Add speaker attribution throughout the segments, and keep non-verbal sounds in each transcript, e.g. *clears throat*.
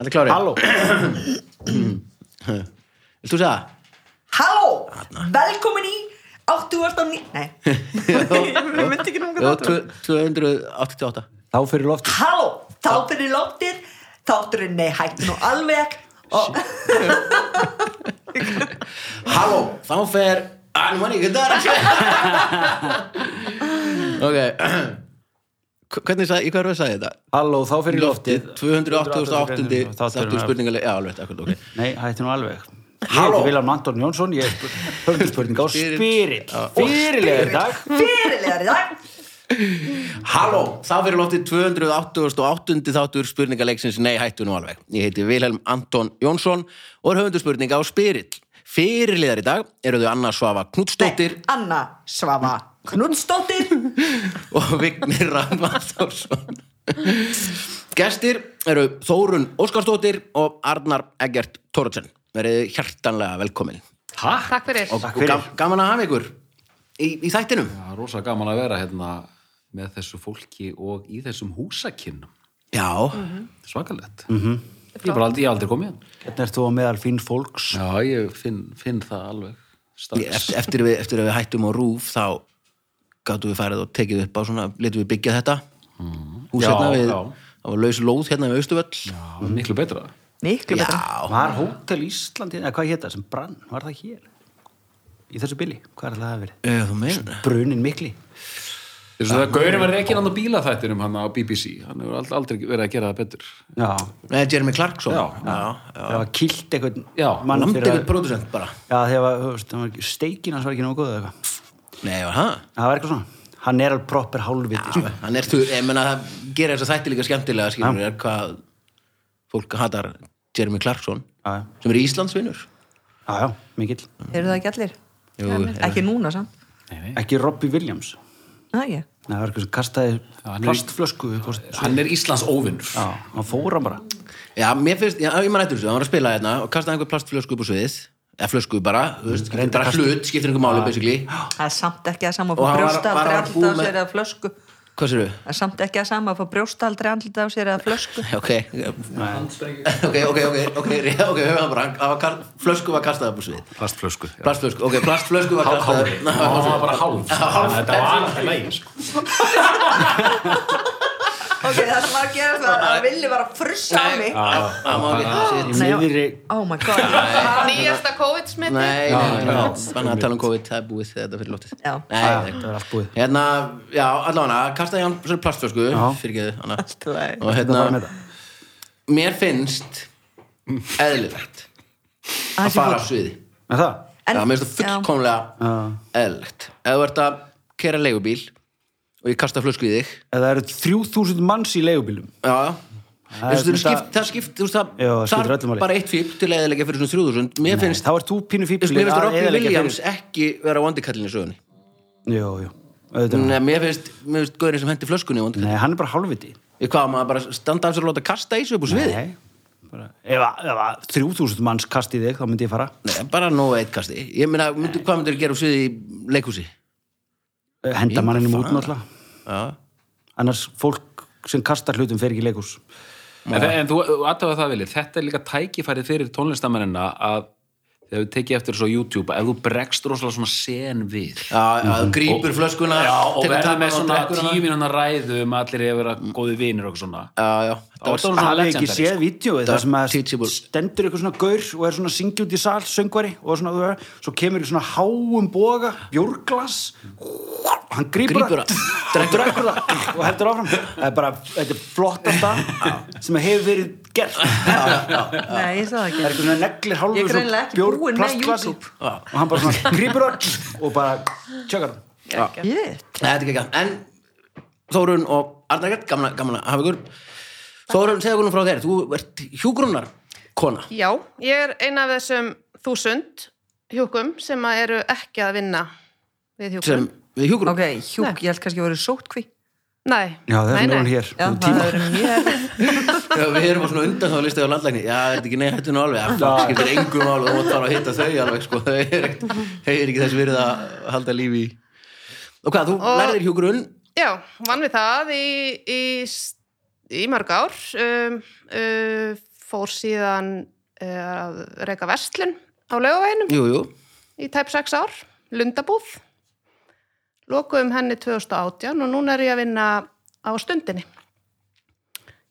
Speaker 1: Þetta er klárið. *laughs*
Speaker 2: Halló
Speaker 1: Vilt þú segja?
Speaker 3: Halló, velkomin í 89
Speaker 1: *laughs*
Speaker 3: Nei, við myndi ekki
Speaker 1: Jó,
Speaker 3: núna
Speaker 1: tvö- 288.
Speaker 2: Þá fyrir loft
Speaker 3: Halló, þá fyrir lóttir Þátturinn, nei, hættu nú alveg Og
Speaker 1: Halló, þá fer Almanni *laughs* Gudar Ok K- Hvernig sagði, í hverju sagði þetta?
Speaker 2: Halló, þá fyrir loftið
Speaker 1: Loftið, 288.
Speaker 4: Þáttur,
Speaker 1: þáttur
Speaker 4: já.
Speaker 1: spurningaleg Já, alveg, akkur, ok
Speaker 4: Nei, hætti nú alveg Ég
Speaker 1: Halló.
Speaker 4: heiti Viljan Anton Jónsson, ég er höfndurspurning á
Speaker 1: Spyrill.
Speaker 4: Spyrill Fyrirlega í dag
Speaker 3: fyrirlegar í dag
Speaker 1: Halló, þá fyrir loftið 288. þáttur spurningaleiksins Nei, hættu nú alveg. Ég heiti Vilhelm Anton Jónsson og er höfundur spurninga á Spyrill. Fyrirliðar í dag eru þau Anna Svava Knudsdóttir
Speaker 3: Nei, Anna Svava Knudsdóttir
Speaker 1: og Vignir Rannvarsson. Gestir eru Þórun Óskarsdóttir og Arnar Eggert Tóruðsen. Verið hjartanlega velkomin.
Speaker 2: Hæ?
Speaker 5: Takk fyrir.
Speaker 1: Og,
Speaker 4: Takk
Speaker 1: og
Speaker 4: fyrir.
Speaker 1: gam, gaman að hafa ykkur í, í þættinum.
Speaker 2: Það er rosa gaman að vera hérna með þessu fólki og í þessum húsakinnum
Speaker 1: Já,
Speaker 2: Svakalegt Ég hef bara aldrei, ég hef aldrei komið hérna
Speaker 4: Hvernig ert þú á meðal fín fólks?
Speaker 2: Já, ég finn, finn það alveg
Speaker 1: eftir, eftir, við, eftir að við hættum á rúf þá gáttum við farið og tekið upp á svona, letum við byggja þetta hús
Speaker 2: Já,
Speaker 1: hérna við,
Speaker 2: já.
Speaker 1: það var laus lóð hérna við Austurvöll já,
Speaker 2: Já, miklu betra
Speaker 3: Miklu betra
Speaker 4: Var Hótel Íslandi, eða hvað hétt það sem brann, var það hér? Í þessu bili, hvað er það að vera?
Speaker 1: Eh, þú meina
Speaker 4: Brunin mikli
Speaker 2: Þessu það Gaurin var ekki hann á bílaþættinum hann á BBC Hann hefur ald- aldrei verið að gera það betur
Speaker 4: Já,
Speaker 1: Nei, Jeremy Clarkson
Speaker 2: Já,
Speaker 1: já,
Speaker 4: það var kilt einhvern
Speaker 2: Já,
Speaker 1: já.
Speaker 4: mann
Speaker 1: Lamdi
Speaker 4: fyrir
Speaker 1: við
Speaker 4: að
Speaker 1: producent bara
Speaker 4: Já, þegar var, þú veist, hann var, steikin hans var ekki nógu góð eða eitthvað
Speaker 1: Nei, var það?
Speaker 4: Það var eitthvað svona, hann er alveg proper hálfviti sko.
Speaker 1: Hann er þú, ég meina það gera þess að þætti líka skemmtilega skilur er hvað fólk hatar Jeremy Clarkson
Speaker 4: Já, já.
Speaker 1: sem er Íslandsvinur
Speaker 4: Já, já, mikill
Speaker 3: Eru það ekki allir?
Speaker 1: Jú,
Speaker 3: Ekki núna samt
Speaker 4: Ekki Robbie Williams
Speaker 3: Næ, ég
Speaker 4: Nei, það var eitthvað sem kastaði
Speaker 2: hann er-
Speaker 4: plastflösku upp á st-
Speaker 2: Hann er Íslands óvinnur
Speaker 4: Já, hann fór hann bara
Speaker 1: Já, mér finnst, já, ég maður eftir þessu, hann var að spila hérna og kastaði einhver plastflösku upp á sviðið eða flösku bara, þú veist,
Speaker 4: Reyndi
Speaker 1: bara
Speaker 4: að kasta-
Speaker 1: hlut, skiptir einhver máli, basically
Speaker 3: Það er samt ekki að sama að
Speaker 1: Og
Speaker 3: fá
Speaker 1: hann var- var
Speaker 3: brjóstaldri
Speaker 1: hann búið með-
Speaker 3: andlita á sér eða flösku
Speaker 1: Hvað sérðu?
Speaker 3: Það er samt ekki að sama að fá brjóstaldri andlita á sér eða
Speaker 1: *laughs*
Speaker 3: flösku
Speaker 1: Ok, ok, ok, ok, ok, rétt, ok, höfum það bara, hann- hann var kast- flösku var kastað upp á sviðið
Speaker 2: Plastflösku já.
Speaker 1: Plastflösku, ok, plastflösku var kastað
Speaker 2: Hálfri, hann var bara hálf Þannig að Þetta var alltaf leið sko.
Speaker 3: Ok, það sem var að gera það að villi var að frussa á mig
Speaker 1: Það má ekki, það
Speaker 4: Í
Speaker 1: sétt
Speaker 3: Nei,
Speaker 4: miðri
Speaker 3: Oh my god
Speaker 5: Nýjasta COVID-smiti.
Speaker 1: Nei, nei, nei, banna að tala um COVID, það er búið þetta er fyrir lótið
Speaker 3: Já.
Speaker 1: Nei,
Speaker 4: Það er allt búið
Speaker 1: hérna, já, allavega, kastaði hann svona plastflösku, fyrir hana
Speaker 3: í lagi.
Speaker 1: og
Speaker 4: Það var
Speaker 1: hérna,
Speaker 4: með það
Speaker 1: mér finnst eðlilegt að
Speaker 3: Að
Speaker 1: fara af sviði
Speaker 4: Með það?
Speaker 3: En-
Speaker 1: já, mér finnst það
Speaker 3: já.
Speaker 1: fullkomlega eðlilegt ef þú ert að kera leigubíl og ég kasta flösku í þig
Speaker 4: Ef Það eru 3000 manns í leigubílum
Speaker 1: já, já
Speaker 4: Það er
Speaker 1: Þessu,
Speaker 4: svona-
Speaker 1: skipt, það skipt, þú veist það
Speaker 4: Já, það skiptir
Speaker 1: þarf
Speaker 4: öllu máli.
Speaker 1: bara eitt fíp til að eðilega fyrir svona 3000 mér finnst,
Speaker 4: Þá ert þú pínu
Speaker 1: þú veist,
Speaker 4: fíblir
Speaker 1: mér finnst Robbie Williams ekki vera vondikallin í sögunni
Speaker 4: Jó, jó Auðvitað
Speaker 1: Nei, mér finnst, mér finnst gaurin sem hendi flöskunni vondikallin
Speaker 4: Nei, hann er bara hálfviti
Speaker 1: ég hvað, á maður bara að standa af sér og láta kasta í sig upp úr sviði
Speaker 4: Nei bara- Ef að- ef að 3000 manns kasti í þig þá myndi ég fara
Speaker 1: Nei, bara nógu eitt kasti ég meina, myndu, hvað myndir gera úr sviði í leikhúsi
Speaker 4: Eh, Henda
Speaker 1: Ég
Speaker 4: manninum
Speaker 1: bara
Speaker 4: út náttúrulega
Speaker 1: já
Speaker 4: Annars fólk sem kastar hlutum fer ekki í leikus
Speaker 2: En, þe- en þú aðtöfa það vilja, þetta er líka tækifærið fyrir tónlistamennina að þegar við tekið eftir svo YouTube, ef þú bregst rosalega svona sen við
Speaker 1: Já, já, þú grýpur flöskuna
Speaker 2: Já, Mm-hmm. og
Speaker 1: tekur
Speaker 2: verður
Speaker 1: tappann
Speaker 2: með
Speaker 1: og
Speaker 2: svona
Speaker 1: drekkur hana.
Speaker 2: tíu mínúna ræðu um að allir hefur að góði vinir og eitthvað svona
Speaker 1: Já, já,
Speaker 2: Það
Speaker 1: þetta var
Speaker 2: var svona
Speaker 4: hafið ekki
Speaker 2: legendary,
Speaker 4: séð vídjóið það sem að
Speaker 1: teachable.
Speaker 4: stendur ykkur svona gaur og er svona að syngja út í sal, söngvari og er svona, svo kemur í svona háum boga bjórglas hann grýpur
Speaker 1: Grípur
Speaker 4: það,
Speaker 1: það.
Speaker 4: drekkur það og heldur áfram það er bara, þetta er flottasta sem hefur verið gert það
Speaker 3: Nei, ég sá það
Speaker 4: er
Speaker 3: ekki
Speaker 4: eitthvað svona neglir hálfur
Speaker 3: Ég er greinilega ekki búin með YouTube.
Speaker 4: og hann bara svona grýpur það og bara tjökar það
Speaker 3: Shit.
Speaker 1: Nei, þetta er ekki ekki En Þórun og Arnarkert, gaman, að- gaman að hafa ykkur Þórun, segðu okkur nú frá þér Þú ert hjúgrunnar kona
Speaker 5: Já, ég er eina af þessum þúsund hjúkum sem að eru ekki að vinna við hjúkum.
Speaker 1: sem við hjúgrun
Speaker 3: Ok, hjúk, ég held kannski að voru sótkví
Speaker 5: Nei.
Speaker 4: já, það
Speaker 5: nei,
Speaker 4: er
Speaker 5: nei.
Speaker 4: hún hér
Speaker 3: Já,
Speaker 4: um
Speaker 3: það
Speaker 4: tíma.
Speaker 3: er mjög
Speaker 1: Já, Við erum á svona undan þá listu á landlækni Já, er þetta ekki nei, hættu nú alveg Já, Það skiptir engum alveg, þú mátt fara að hitta þau alveg sko. Þau er ekkert- þau er ekki þess verið að halda lífi í Og hvað, þú og... lærðir hjúgrun
Speaker 5: Já, vann við það í, í, í mörg ár. Um, uh, fór síðan eh, að reyka verslun á laugaveginum
Speaker 1: Jú, jú,
Speaker 5: í tæp 6 ár, lundabúð. Lokuðum henni 2018 og núna er ég að vinna á stundinni.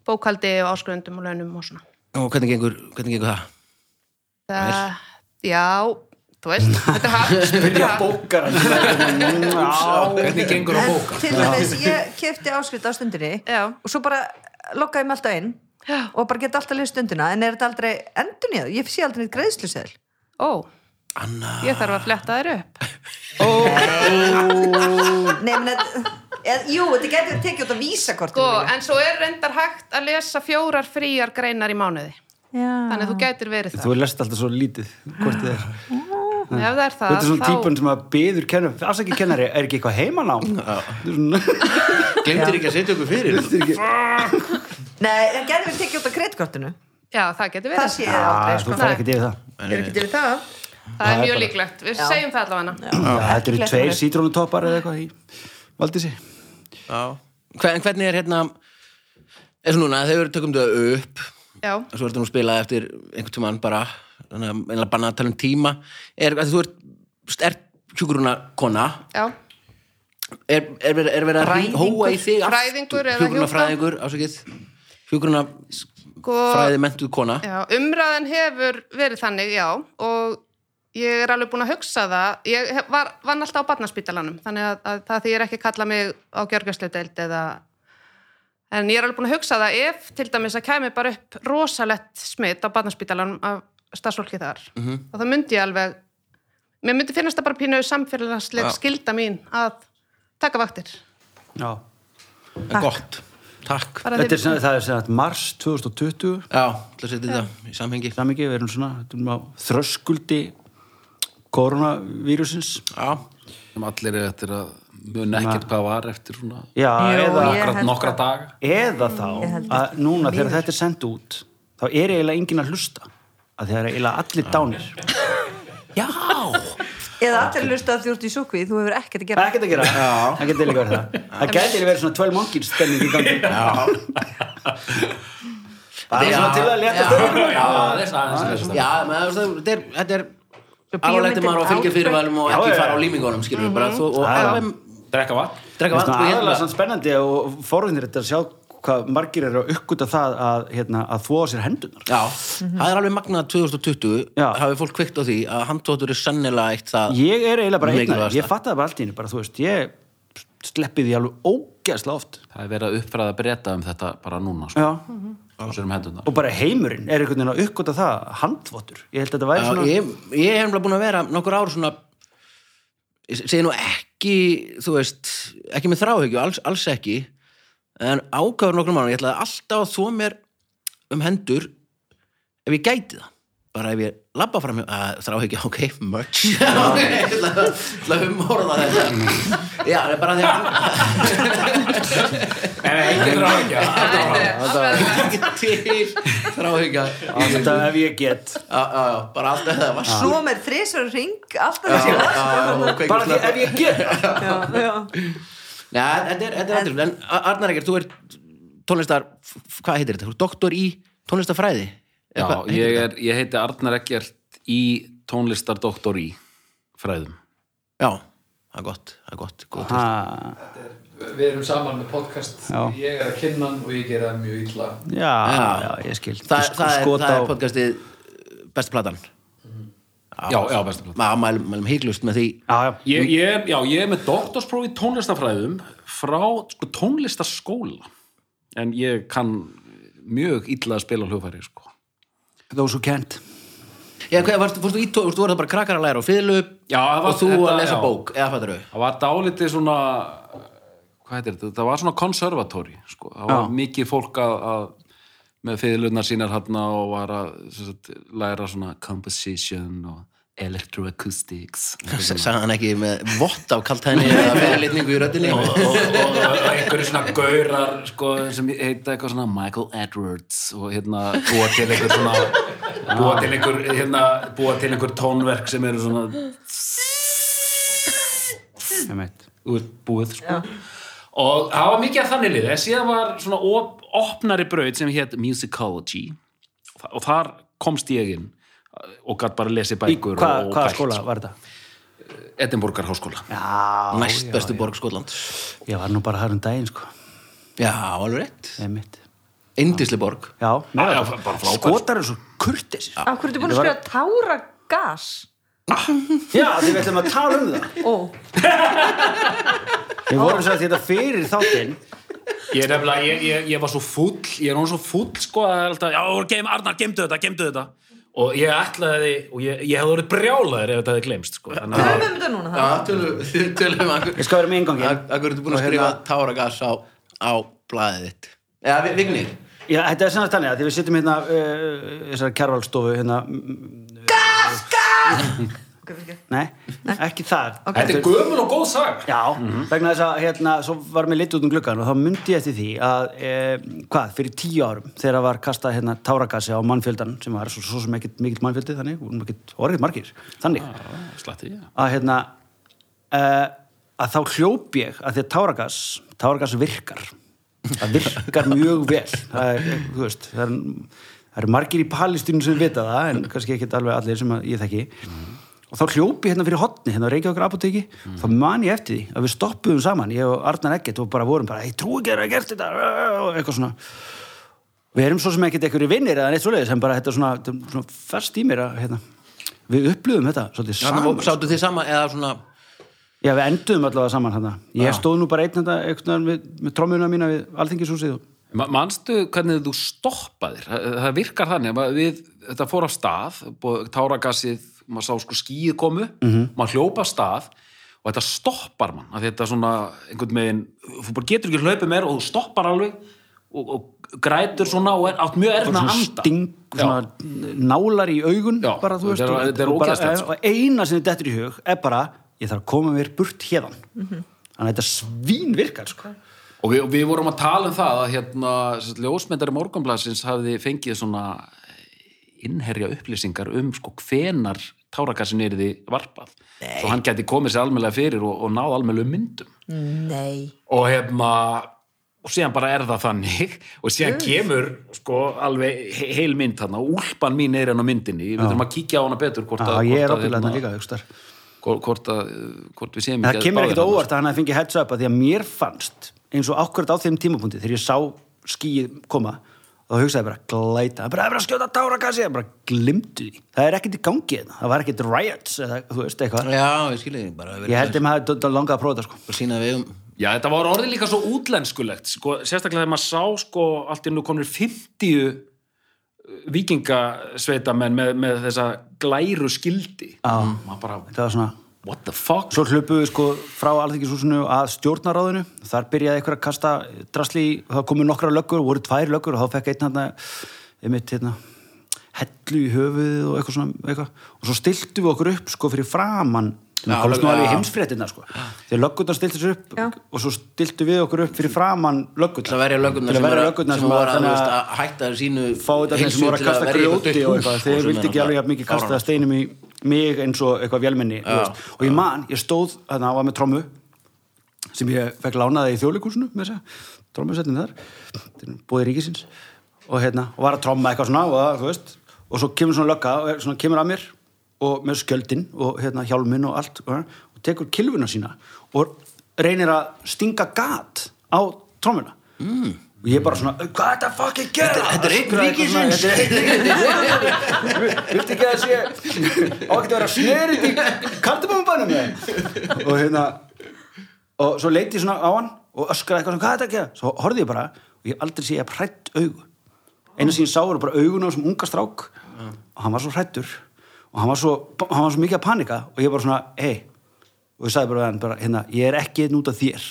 Speaker 5: Bókaldi og áskrifundum og launum og svona.
Speaker 1: og hvernig gengur, hvernig gengur það?
Speaker 5: Það, já, þú
Speaker 4: *laughs*
Speaker 5: veist, þetta er hafn.
Speaker 4: Byrja bókar
Speaker 3: *laughs*
Speaker 2: Hvernig gengur á bóka?
Speaker 3: Til dæmis, ég kefti áskrift á stundinni
Speaker 5: Já.
Speaker 3: og svo bara lokkaði mig alltaf inn
Speaker 5: Já.
Speaker 3: og bara geta alltaf leið stundina en er þetta aldrei endurnýjað? Ég sé aldrei neitt greiðsluseðl
Speaker 5: Ó,
Speaker 1: Anna,
Speaker 5: ég þarf að fletta þér upp.
Speaker 3: Nei, menn eð, Jú, þetta getur tekið út að vísa hvort
Speaker 5: Sko, en svo er reyndar hægt að lesa fjórar fríar greinar í mánuði. Þannig að þú gætir verið það.
Speaker 4: Þú er lest alltaf svo lítið hvort þið er
Speaker 5: Ef það er það,
Speaker 4: Þetta er svona
Speaker 5: þá...
Speaker 4: típun sem að beður kennar Afsækki kennari, er ekki eitthvað heimanám? Þetta er svona- *laughs*
Speaker 1: glemtir ekki að setja okkur fyrir
Speaker 3: Nei, en getur við tekið út að kreitkortinu
Speaker 5: Já, það getur verið.
Speaker 3: Það sé ég
Speaker 4: Já, Ah,
Speaker 3: aldrei
Speaker 4: Þú
Speaker 3: sko.
Speaker 4: fær
Speaker 5: Nei.
Speaker 4: ekkert yfir það
Speaker 3: Ég er ekki til í það
Speaker 5: Það
Speaker 4: Það
Speaker 5: er
Speaker 4: er
Speaker 5: mjög
Speaker 4: bara-
Speaker 5: líklegt. Við segjum það allavega.
Speaker 4: Já, Þetta eru
Speaker 3: Ekki
Speaker 4: tveir
Speaker 3: leikmaður.
Speaker 4: sítrónutoppar eða eitthvað í Valdísi
Speaker 1: Hver, En hvernig er hérna eins og núna, þegar við tökum þau upp
Speaker 5: Já.
Speaker 1: og svo ertu nú spilað eftir einhvern tímann bara, þannig að einlega banna að tala um tíma er, að þú ert, ert hjúkuruna kona
Speaker 5: Já.
Speaker 1: er, er, verið- er verið að rí-
Speaker 3: Fræðingur.
Speaker 1: hóa í þig
Speaker 5: Fræðingur eða
Speaker 1: hjúkuruna fræðingur, ásakið hjúkuruna
Speaker 5: Sko,
Speaker 1: fræði mentuð kona
Speaker 5: já, umræðan hefur verið þannig, já, og ég er alveg búin að hugsa það. Ég hef- var, vann alltaf á barnaspítalanum, þannig að, að það því er ekki að kalla mig á gjörgjörslutdeild eða... En ég er alveg búin að hugsa það ef til dæmis að kæmi bara upp rosalett smitt á barnaspítalanum af starfsfólki þar.
Speaker 4: Mhm.
Speaker 5: Og það myndi ég alveg... Mér myndi finnast það bara pínu samfélagslega skilda mín að taka vaktir.
Speaker 4: Já
Speaker 1: Takk. gott, takk
Speaker 5: Bara
Speaker 4: Þetta
Speaker 5: þeir-
Speaker 4: er sem það er sem sagt mars 2020
Speaker 1: já, til að setja þetta í samhengi
Speaker 4: Samingi, við erum svona þetta er nú á þröskuldi koronavírusins
Speaker 1: já,
Speaker 2: Sem allir er eftir að muna ekkert hvað var eftir svona
Speaker 4: Já, eða,
Speaker 3: Jú, ég-
Speaker 2: nokkra,
Speaker 3: held
Speaker 2: nokkra
Speaker 3: að-
Speaker 2: daga.
Speaker 4: eða þá að núna þegar þetta er sendt út þá er eiginlega enginn að hlusta að það er eiginlega allir dánir
Speaker 3: Eða allir lusta að þú ert í súkvi Þú hefur ekkert að
Speaker 4: Það
Speaker 3: gera
Speaker 4: er ekkert að gera, það getur líka verið það Það getur verið svona 12 mongin stemning í gangi Það er svona til að leta stöðum
Speaker 2: Já, það er aðeins
Speaker 1: já menn, þetta er, þetta er
Speaker 3: Svo
Speaker 1: alvarlegt er maður á að fylgja
Speaker 3: bíómyndir-
Speaker 1: fyrirvælum og ekki
Speaker 4: Já, já, já.
Speaker 1: fara á límingunum skilur við bara þú og
Speaker 4: Já, já.
Speaker 1: alveg
Speaker 2: Drekka vatn.
Speaker 1: drekka
Speaker 4: Það
Speaker 1: vatn og
Speaker 4: er aðalega
Speaker 1: hérna
Speaker 4: svona spennandi og forðinir þetta að sjá hvað margir eru að uppgöta það að, hérna, að þvóa sér hendunar
Speaker 1: Já, það er alveg magnað að 2020
Speaker 4: Já.
Speaker 1: hafi fólk kveikt á því að handtóttur er sennilega eitt það
Speaker 4: Ég er eiginlega bara einn af
Speaker 1: Mikilvægasta.
Speaker 4: þeim, ég fatta það bara allt í henni bara, þú veist, ég sleppi því alveg ógæsla oft
Speaker 2: Það er verið að uppfræða að breyta um þetta bara núna, sko.
Speaker 4: Já.
Speaker 2: Og sérum hendunar.
Speaker 4: og bara heimurinn er einhvern veginn að uppgöta það handvottur, ég held að þetta væri
Speaker 1: Já,
Speaker 4: svona
Speaker 1: ég, ég hef nefnilega búin að vera nokkur ár svona ég segi nú ekki þú veist, ekki með þráhyggju alls, alls ekki en ákafur nokkur mánum, ég ætlaði alltaf að þó mér um hendur ef ég gæti það bara ef ég labba fram að þráhyggja, ok, *laughs* much ég ætla að- ætla að umorða þetta já, það er bara því að *laughs*
Speaker 2: En enginn ráðja.
Speaker 1: ekki til þráhyggja
Speaker 4: alltaf ef ég get
Speaker 1: Já, já, já, bara alltaf það var svo
Speaker 3: Svo með þrisvar ring Alltaf þessi
Speaker 4: bara því ef ég get
Speaker 3: Já, já.
Speaker 1: Nei, þetta er þetta er aðtrúlega, en A- Arnar Egger, þú ert tónlistar, f- hvað heitir þetta? Þú ert doktor í tónlistarfræði?
Speaker 2: Já, ég, er, ég heiti Arnar Eggert í tónlistardoktor í fræðum.
Speaker 1: Já, það er gott, það er gott, gott.
Speaker 4: Ha,
Speaker 6: Við erum saman með podcast,
Speaker 4: Já.
Speaker 6: ég er að kynna hann og ég gera það mjög illa.
Speaker 4: já, já, ég skil
Speaker 1: Þa,
Speaker 4: Sko-
Speaker 1: það, er,
Speaker 4: skot
Speaker 1: það
Speaker 4: á-
Speaker 1: er podcastið eh, Besta Platan
Speaker 2: Já, já, besta plata.
Speaker 1: Má- Mælum, mælum hygglust með því
Speaker 4: Já, já,
Speaker 2: Ég, ég, já, ég er með doktorspróf í tónlistafræðum frá sko, tónlistaskóla en ég kann mjög illa að spila á hljófæri sko.
Speaker 4: those who can't
Speaker 1: Já, hvað, varstu, fórstu í tó, þú voru það bara krakkar að læra og fiðlu
Speaker 2: Já, það var-
Speaker 1: og þú
Speaker 2: þetta-
Speaker 1: að lesa
Speaker 2: já.
Speaker 1: bók, eða fattar þau?
Speaker 2: það var dálítið svona hvað heitir þetta, það var svona konservatóri sko. það var
Speaker 4: Já.
Speaker 2: mikið fólk að, að með fyrirlunar sínar hann og var að sem sagt, læra svona composition og electroacoustics og
Speaker 1: Sagði hann ekki með vott af kaltæðinni eða fyrirlitningu í röddinni
Speaker 2: og, og, og einhverju svona gaurar sko, sem heita eitthvað svona Michael Edwards og hérna búa til einhver svona búa til einhver, hérna, búa til einhver tónverk sem eru svona
Speaker 4: Ég veit.
Speaker 2: úr búið sko. og það var mikið af þannig liði en síðan var svona op, opnari braut sem hétt Musicology og þar komst ég inn og gætt bara lesið
Speaker 4: Í
Speaker 2: bækur
Speaker 4: hvað,
Speaker 2: og
Speaker 4: hvaða
Speaker 2: pælt.
Speaker 4: skóla var þetta?
Speaker 2: Edinborgar háskóla
Speaker 4: Já,
Speaker 1: næst bestu borg Skotland
Speaker 4: Ég var nú bara þar um daginn, sko.
Speaker 1: já, alveg rétt,
Speaker 4: Nei, mitt.
Speaker 1: indisli borg
Speaker 4: Já,
Speaker 2: Já,
Speaker 4: meira
Speaker 2: já, bara frábært.
Speaker 4: Skotar er svo kurtis.
Speaker 3: Af hverju ertu búin að skrifa táragas?
Speaker 4: Já, því við ætlum að tala um það.
Speaker 3: Ó,
Speaker 4: Við vorum svo að þetta fyrir þáttinn.
Speaker 2: Ég, er nefnilega, ég, ég, ég var svo fúll, ég er hún svo fúll sko að alltaf, já, geim, Arnar, geimdu þetta, geimdu þetta. Og ég ætlaði, og ég, ég hefði orðið brjálaður ef þetta hefði glemst, sko. Þannig
Speaker 3: höfum
Speaker 2: að,
Speaker 3: við um þetta núna
Speaker 1: já,
Speaker 3: það?
Speaker 1: tölum tölum að
Speaker 4: Ég skal vera með engangin.
Speaker 1: hverju ertu búin að
Speaker 4: Og
Speaker 1: skrifa
Speaker 4: hérna-
Speaker 1: táragas á, á blaðið þitt já, Vi- Vignir
Speaker 4: Já, þetta er sannast þannig að því við sittum hérna uh, þessari kjærvalstofu hérna mm,
Speaker 3: Ok, fyrir ekki.
Speaker 4: nei, ekki þar
Speaker 3: Ok.
Speaker 2: þetta er gömul og góð sag.
Speaker 4: Já, vegna þess að hérna, svo var mér litið út um gluggan og þá myndi ég eftir því að, e, hvað, fyrir tíu árum þegar það var kastað hérna tárakassi á mannfjöldan sem var svo, svo sem ekkit mikill mannfjöldi þannig, vorum ekkit, voru ekkit margir, þannig
Speaker 2: Slatti, já.
Speaker 4: að hérna uh, að þá hljóp ég að því að táragas táragas virkar það virkar mjög vel það er, þú veist, það er, það er margir í palestínu sem vita það en kannski ekki alveg allir sem að ég þekki og þá hljóp ég hérna fyrir hotni hérna á Reykjavíkur apoteki, þá man ég eftir því að við stoppuðum saman, ég og Arnar Eggert og bara vorum bara, ég trú ekki að það er gert þetta og eitthvað svona við erum svo sem ekkert einhverjir vinnir eða neitt svoleiðis, en bara þetta er svona, þetta er svona fast í mér að hérna, við upplöfum þetta svolítið
Speaker 1: Þarna
Speaker 4: saman
Speaker 1: vo- sátu þið sama eða svona
Speaker 4: Já, við enduðum allavega saman hann
Speaker 1: Já.
Speaker 4: Ég stóð nú bara einn þetta einhvern veginn með, með trommuna mína við alþingishúsið og...
Speaker 2: Ma- Manstu hvernig þú stoppaðir? Það, það virkar þannig, að við, þetta fór af stað, búið- táragassið, maður sá sko skýið komu,
Speaker 4: Mhm.
Speaker 2: maður hljópa af stað og þetta stoppar mann. Af því Þetta svona, einhvern veginn, þú bara getur ekki hlaupið meir og þú stoppar alveg og, og grætur svona og er átt mjög erfna að
Speaker 4: svona
Speaker 2: anda.
Speaker 4: sting,
Speaker 2: Já.
Speaker 4: svona nálar í augun
Speaker 2: Já,
Speaker 4: bara, þú veist,
Speaker 2: þetta er-
Speaker 4: og-
Speaker 2: þetta er
Speaker 4: og bara-
Speaker 2: ógeðslegt, sko.
Speaker 4: og eina sem þetta er í hug er bara, ég þarf að koma mér burt hérðan þannig að þetta svín virkar sko.
Speaker 2: Og við, og við vorum að tala um það að hérna, sem sagt, ljósmyndari morgunblassins hafði fengið svona eh, innherja upplýsingar um sko hvenar tárakassin er því varpað. Nei. Svo hann gæti komið sér almennlega fyrir og, og náð almennlega myndum.
Speaker 3: Nei
Speaker 2: Og hérna, og síðan bara er það þannig *laughs* og síðan kemur sko alveg he- heil mynd þarna og úlpan mín er hann á myndinni. Við þurfum að kíkja á hana betur hvort
Speaker 4: Já,
Speaker 2: að...
Speaker 4: ég er
Speaker 2: hvort að,
Speaker 4: ábyggilega
Speaker 2: hérna,
Speaker 4: þarna líka hugstar.
Speaker 2: Hvort, hvort að, eh, hvort við séum
Speaker 4: En það
Speaker 2: að
Speaker 4: kemur
Speaker 2: báðir
Speaker 4: ekkit á
Speaker 2: þarna, sko.
Speaker 4: óvart að hann að fengi heads up að því að mér fannst eins og ákvörð á þeim tímapunkti þegar ég sá skýið koma og þá hugsaði ég bara glæta, bara það er verið að skjóta tárakassi ég bara glimtu því, það er ekkit í gangi þetta, það var ekkit riots eða þú veist eitthvað
Speaker 1: já, ég skilja þig bara
Speaker 4: ég held þeim að hafa þetta langað að prófa þetta sko
Speaker 1: að sína við um
Speaker 2: Já, þetta var orðið líka svo útlenskulegt, sko, sérstaklega þegar maður sá sko, allt í nú konur 50 vikingasveitamenn uh, með, með þessa glæru skildi. Já. Maður bara,
Speaker 4: þetta var svona,
Speaker 2: what the fuck?
Speaker 4: svo hlupuðu sko frá alþingisúsinu að stjórnaráðinu þar byrjaði eitthvað að kasta drasli í- þá komu nokkra löggur, voru tvær löggur og þá fekk einn hann einmitt hérna hellu í höfuðið og eitthvað svona eitthvað. og svo stiltu við okkur upp sko fyrir framann sem
Speaker 1: Já,
Speaker 4: komast nú
Speaker 1: lögg-
Speaker 4: alveg í
Speaker 1: já.
Speaker 4: heimsfréttina sko þegar löggurnar stiltu sér upp
Speaker 3: Já.
Speaker 4: og svo stiltu við okkur upp fyrir framan löggurnar
Speaker 1: til að verja löggurnar
Speaker 4: Til að
Speaker 1: sem,
Speaker 4: verja
Speaker 1: voru-
Speaker 4: löggurnar
Speaker 1: sem voru að,
Speaker 4: þannig
Speaker 1: að,
Speaker 4: að-
Speaker 1: að hætta sínu
Speaker 4: fá þetta þeim sem voru að kasta grjóti og eitthvað, þeir vildi ekki alveg jafn mikið kasta steinum í mig eins og eitthvað vélmenni þú
Speaker 1: Já,
Speaker 4: veist. og ég man, ég stóð þannig að var með trommu sem ég fekk lánaði í þjóðleikúsinu með þess að trommusettin þar þetta er búið ríkisins og hérna, og var að tromma eitthvað svona og, það, þú veist, og svo kemur svona lögga og er- svona kemur að mér og með skjöldin og hérna hjálminn og allt og, og tekur kilvuna sína og reynir að stinga gat á trommuna mm. og ég bara svona, hvað er þetta fucking gera?
Speaker 1: Þetta- þetta er einn ríkisins.
Speaker 4: Þetta er einn ríkisins Viltu ekki að það sé á ekki að vera snerið í kartabambanum og hérna og svo leiti ég svona á hann og öskraði eitthvað svona, hvað er þetta að gera? Svo horfði ég bara og ég hef aldrei sé ég að prætt augu einu sem ég sá voru bara augun á þessum unga strák og hann var svo hrættur og hann var svo, hann var svo mikið að panika og ég bara svona, hei og ég sagði bara, við hann, bara hérna, ég er ekki einn út af þér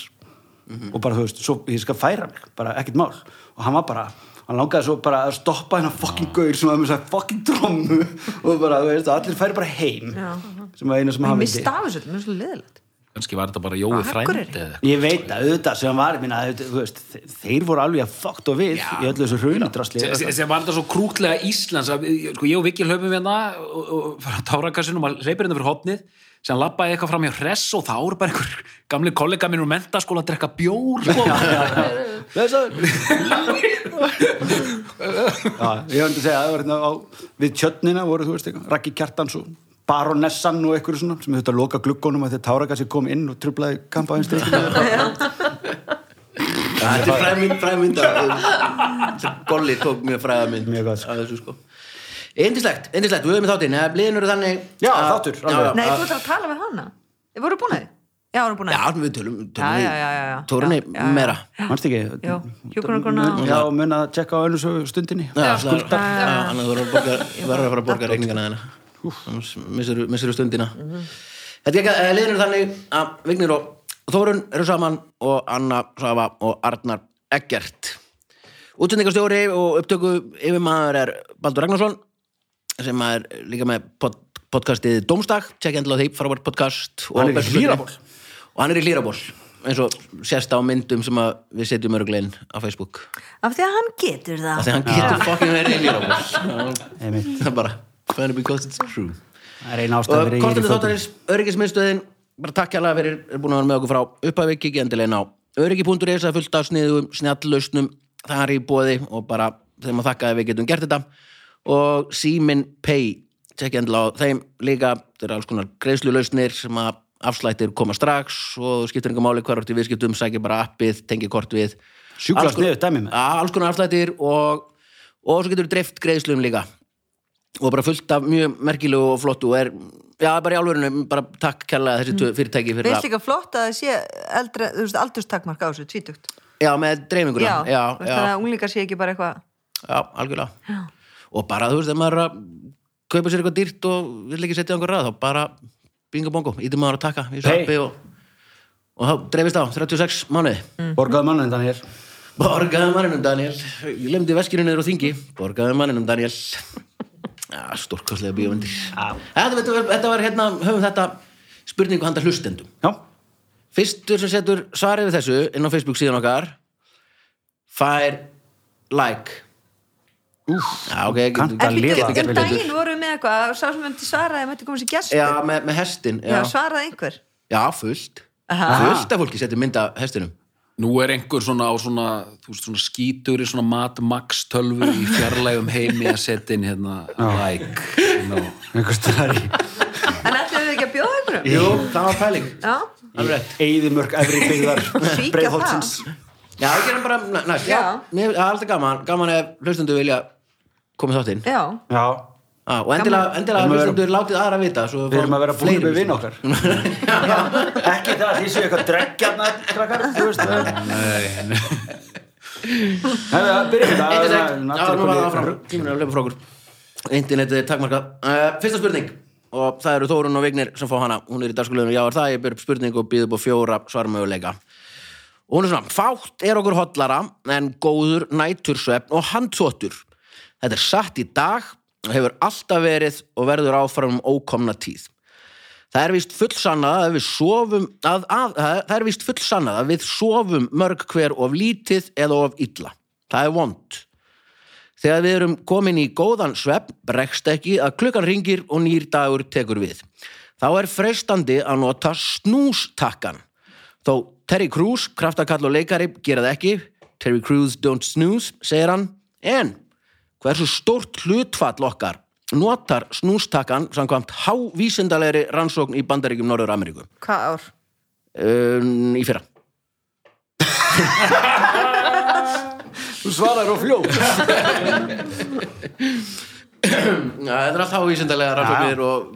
Speaker 4: og bara þú veist, svo ég skal færa mig bara ekkert mál og hann var bara hann langaði svo bara að stoppa hennar fucking gaur sem var með þess að fucking trommu *laughs* og bara, þú veist, allir færi bara heim
Speaker 3: Já.
Speaker 4: sem var eina sem
Speaker 3: Ég
Speaker 4: hann vildi
Speaker 3: mista af þessu, þetta er mjög svo leðilegt
Speaker 2: Kannski var þetta bara Jói
Speaker 3: Af
Speaker 2: frændi
Speaker 3: hverju?
Speaker 2: eða eitthvað.
Speaker 4: Ég veit að auðvitað sem var minna, auðvitað, þú veist, þe- þeir voru alveg að fuckt og við í öllu þessu hrunudrasli
Speaker 2: Se- se- sem var þetta svo krútlega Íslands að, við- sko, ég og Viki hlaupum hérna og, og frá tárakassinum og maður hleypir hérna fyrir hopnið sem lappaði eitthvað fram hjá hress og þá eru bara einhver gamli kollega minn úr mentaskóla að drekka bjór sko.
Speaker 4: Blessaður Já, ég höfndi að segja að það var hérna á, við tjötnina voru, þú veist, eitthvað, Raggi Kjartans og baronessan og einhverju svona sem þurfti að loka gluggunum að þegar táragassi kom inn og trublaði kampa hins til
Speaker 1: Þetta er fræðmynd, fræðmynd af- *laughs* Golli tók mjög fræðmynd
Speaker 4: Mjög góð, sko.
Speaker 1: af þessu sko Indislegt, indislegt, við höfum í þáttinn eða bliðin eru þannig
Speaker 4: Já,
Speaker 1: að-
Speaker 4: þáttur,
Speaker 1: Já,
Speaker 4: alveg.
Speaker 1: já,
Speaker 3: Nei, þú ætlar að tala við hana Við vorum búin að því Já, vorum búin að
Speaker 1: Ah. já,
Speaker 3: því
Speaker 1: við tölum,
Speaker 3: Já,
Speaker 1: tölum
Speaker 3: já, já, já, já.
Speaker 1: Tórunni
Speaker 3: Já, já.
Speaker 1: meira
Speaker 4: Manst ekki?
Speaker 3: Jó, hjúkrunarkona og-
Speaker 4: Já, og mun að tjekka á einu svo stundinni
Speaker 1: Já, skulda Þannig þú verður að borga- verður að fara að borga reikningana þeirna Annars missir þú stundina Þetta er ekki að liðin eru þannig að Vignir og Þórun eru saman og Anna Sava og Arnar Eggert Útsendingastjóri og upptöku yfir maður er Baldur Ragnarsson sem er líka með pod podcastið Dómstag, tjekk endilega á því, frábært podcast og
Speaker 4: Hann er í
Speaker 1: Bestu hlutirnir.
Speaker 4: Hlíðarból.
Speaker 1: og hann er í hlýraból eins og sérst á myndum sem að við setjum örglein á Facebook
Speaker 3: Af því að hann
Speaker 1: af
Speaker 3: getur það
Speaker 1: því að hann getur fokkin verið í hlýraból
Speaker 4: Einmitt.
Speaker 1: það er bara funny because it's true
Speaker 4: Það er eina ástæð
Speaker 1: og
Speaker 4: fyrir
Speaker 1: konstantur
Speaker 4: Eiríki
Speaker 1: þáttarins, öryggismiðstöðin bara takk hérlega fyrir, er búin að vera með okkur frá upphæfi, kikið endilegin á öryggi.is að fullt af sniðum, snjallustnum þar í bóði og bara þeim að þakka að við getum gert þetta og Simin Pay, tekja endilega á þeim líka, þetta eru alls konar greiðslulausnir sem að afslættir koma strax og þú skiptir einhver máli hvar orti viðskiptum sækir bara appið, tengir kort við
Speaker 4: Sjúklega
Speaker 1: Alls konar-
Speaker 4: sniðugt dæmi maður.
Speaker 1: Já, alls konar afslættir og, og svo getur dreift greiðslum líka og bara fullt af mjög merkilegu og flottu og er, já, bara í alvörinu bara takk kærlega þessi tvö fyrirtæki
Speaker 3: Við
Speaker 1: fyrir
Speaker 3: erum líka flott að það sé eldra, þú veist, aldurstakmark á þessu, tvítugt
Speaker 1: já, með dreifinguna
Speaker 3: Já,
Speaker 1: já,
Speaker 3: þú veist, þannig
Speaker 1: já,
Speaker 3: að unglingar sé ekki bara eitthvað
Speaker 1: já, algjörlega og bara, þú veist, ef maður er að kaupa sér eitthvað dýrt og vill ekki setja einhver ræð þá bara bingo bongo, ítum maður að taka í svo
Speaker 4: Hey.
Speaker 1: appi og, og þá dreifist á 36 mánuði
Speaker 4: þáttarins. Borgaðu mannum þannig hér
Speaker 1: Borgaðu manninum, um Daniel. Ég lemdi veskinu niður á þingi. Borgaðu manninum, um Daniel. *laughs* Ja, Stórkostlega bíómyndir. Þetta, þetta, var- þetta var hérna, höfum þetta spurningu handa hlustendum.
Speaker 4: Já,
Speaker 1: Fyrstur sem setur svarið við þessu inn á Facebook síðan okkar fær like. Úf, já, ok, getur-
Speaker 4: kanntu
Speaker 3: En
Speaker 4: að
Speaker 3: býtu,
Speaker 4: lifa
Speaker 3: um
Speaker 1: getur-
Speaker 3: daginn vorum við með eitthvað sá sem hefndi svaraði, mætti koma sér gestur
Speaker 1: Já, með, með hestin.
Speaker 3: Já,
Speaker 1: Já,
Speaker 3: svaraði einhver
Speaker 1: já fullt.
Speaker 3: Aha.
Speaker 1: Fullt af fólki setur mynd af hestinum.
Speaker 2: Nú er einhver svona á svona, þú veist, svona skítur í svona Mad Max tölvu í fjarlægum heimi að setja inn hérna like no.
Speaker 4: einhver staðar í
Speaker 3: En ætlum við ekki að bjóða einhverjum?
Speaker 1: Jú, það var pæling.
Speaker 3: Já,
Speaker 1: Alveg rétt.
Speaker 4: Eyðimörk efri
Speaker 5: *laughs*
Speaker 4: byggðar
Speaker 3: Svíkja
Speaker 4: Breiðholtsins
Speaker 1: Já, við gerum bara næ- næst. Já.
Speaker 3: Já.
Speaker 1: Mér það er alltaf gaman, gaman ef hlustundu vilja koma í þáttinn.
Speaker 3: já
Speaker 4: Já,
Speaker 1: Ah, og endilega, endilega
Speaker 4: Við erum að
Speaker 1: hlustundu látið aðra vita. svo
Speaker 4: við erum
Speaker 1: fáum
Speaker 4: að vera búin
Speaker 1: fleiri
Speaker 4: með vinn
Speaker 1: hlustendur.
Speaker 4: okkar *laughs* Ekki það að því séu eitthvað dreggjarnar krakkar, þú veist það
Speaker 2: Nei,
Speaker 4: Nei, það byrjum við
Speaker 1: Einnig
Speaker 4: það
Speaker 1: sagt, já, nú var það áfram. Tíminu er að lefa frá okkur. Internetið er takmarkað. Uh, fyrsta spurning. Og það eru Þórun og Vignir sem fá hana. Hún er í dagskuleginu, já er það, ég ber upp spurningu og býð upp á fjóra svarmöguleika. Og hún er svona, fátt er okkur hotlara en góður nætursvefn og handþóttur. Þetta er satt í dag og hefur alltaf verið og verður áfram um ókomna tíð. Það er víst fullsannað að við sofum að, að, að, það er víst fullsannað að við sofum mörg hver of lítið eða of illa. Það er vond. Þegar við erum komin í góðan svepp bregst ekki að klukkan ringir og nýr dagur tekur við. Þá er freistandi að nota snústakkan. Þó Terry Crews, kraftakall og leikari, gera það ekki. Terry Crews don't snooze, segir hann. En hversu stórt hlutfall okkar notar snústakkan samkvæmt hávísindalegri rannsókn í Bandaríkjum Norður Ameríku?
Speaker 3: Hvað ár?
Speaker 1: Um, í fyrra.
Speaker 4: Þú svarar og fljóð
Speaker 1: Já, þetta er allt hávísindalega rannsóknir og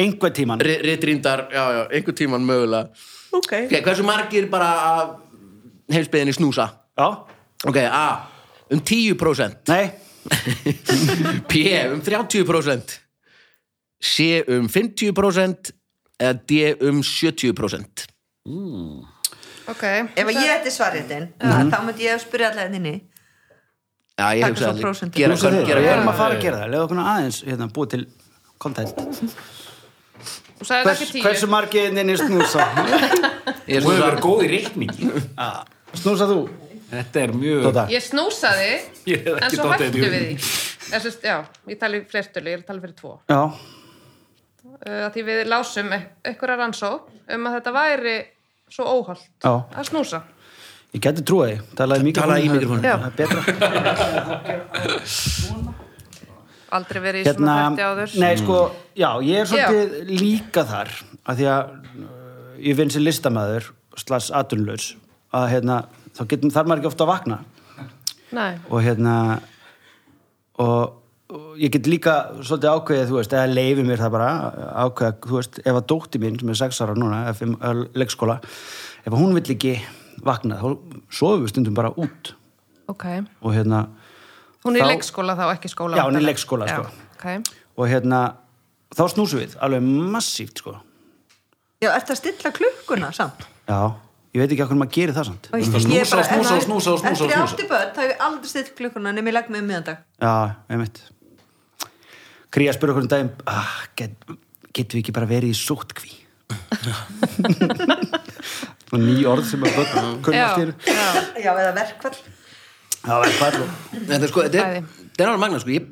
Speaker 4: Einhver tíman
Speaker 1: ri- ritrýndar, já, já, einhver tíman mögulega.
Speaker 3: Ok
Speaker 1: Ok, hversu margir bara af heimsbyðinni snúsa?
Speaker 4: Já,
Speaker 1: Ok, A, um 10%,
Speaker 4: nei,
Speaker 1: B, um 30%, C, um 50%, eða D, um 70%.
Speaker 5: Ok.
Speaker 3: Ef að ég ætti svariðin, mm. þá myndi ég að spyrja allar henni
Speaker 1: Já, ég
Speaker 3: Taka
Speaker 1: hugsa
Speaker 3: svo
Speaker 1: allir-
Speaker 3: prósentu.
Speaker 1: Gera
Speaker 4: Hugsa
Speaker 1: hvern,
Speaker 4: þér,
Speaker 1: gera
Speaker 4: við
Speaker 1: hvern.
Speaker 4: erum að fara að gera það Leðu okkur aðeins, hérna, búið til content
Speaker 5: Þú sagði
Speaker 4: Hvers,
Speaker 5: ekki tíu.
Speaker 4: Hversu margir inn í snúsa?
Speaker 1: Ég er
Speaker 2: Þú hefur
Speaker 1: snúsa.
Speaker 2: verið góð í reikningi.
Speaker 4: Snúsa þú,
Speaker 2: Þetta er mjög...
Speaker 4: Dóta
Speaker 5: Ég snúsaði,
Speaker 2: Ég hef
Speaker 5: en
Speaker 2: ekki
Speaker 5: svo
Speaker 2: dottið
Speaker 5: hættu
Speaker 2: þetta í
Speaker 5: við
Speaker 2: hug.
Speaker 5: því. Ég sést, já, ég tali flertölu, ég tali fyrir tvo.
Speaker 4: Já,
Speaker 5: Uh, að því við lásum einhverja rannsók um að þetta væri svo óholt
Speaker 4: Já.
Speaker 5: að snúsa.
Speaker 4: Ég geti trúið því, talaði mikið
Speaker 1: talaðu í míkrofóninn.
Speaker 5: Já.
Speaker 4: Það er betra
Speaker 5: Aldrei verið í
Speaker 4: hérna,
Speaker 5: svona fætti áður
Speaker 4: Nei, sko, já, ég er svolítið líka þar að því að uh, ég vinn sem listamæður slags atunlaus að hérna, þá getum þar maður ekki ofta að vakna
Speaker 5: Nei.
Speaker 4: og hérna og, og ég get líka svolítið ákveðið, þú veist, eða leifi mér það bara ákveða, þú veist, ef að dótti mín sem er sex ára núna, eða fimm, eða leikskóla ef að hún vill ekki vakna þá sofum við stundum bara út
Speaker 5: ok
Speaker 4: og hérna,
Speaker 5: Hún er í
Speaker 4: Þá-
Speaker 5: leikskóla þá, ekki skóla
Speaker 4: Já, hún er í
Speaker 5: væntanlega.
Speaker 4: leikskóla, sko.
Speaker 5: Já, ok.
Speaker 4: og hérna þá snúsum við, alveg massíft sko,
Speaker 3: Já, ertu að stilla klukkuna samt?
Speaker 4: já ég veit ekki hvað maður gerir það samt
Speaker 3: Og
Speaker 2: Þú veist, að
Speaker 3: ég
Speaker 2: snúsa og
Speaker 3: bara-
Speaker 2: snúsa og snúsa og snúsa og
Speaker 3: Eftir ég
Speaker 2: snúsa.
Speaker 3: átti börn, þá hef ég aldrei stillt klukkuna nema ég legg mig um miðandag.
Speaker 4: Já, einmitt Kría spurði okkur um daginn ah, get, Getum við ekki bara verið í sótkví? og ný orð sem að börn kunna
Speaker 5: Já,
Speaker 4: skil
Speaker 5: já.
Speaker 3: Já, eða verkvall.
Speaker 4: Það var hvað
Speaker 1: Þetta er sko, þetta er,
Speaker 5: Bæði.
Speaker 1: þetta er alveg magna, sko, ég,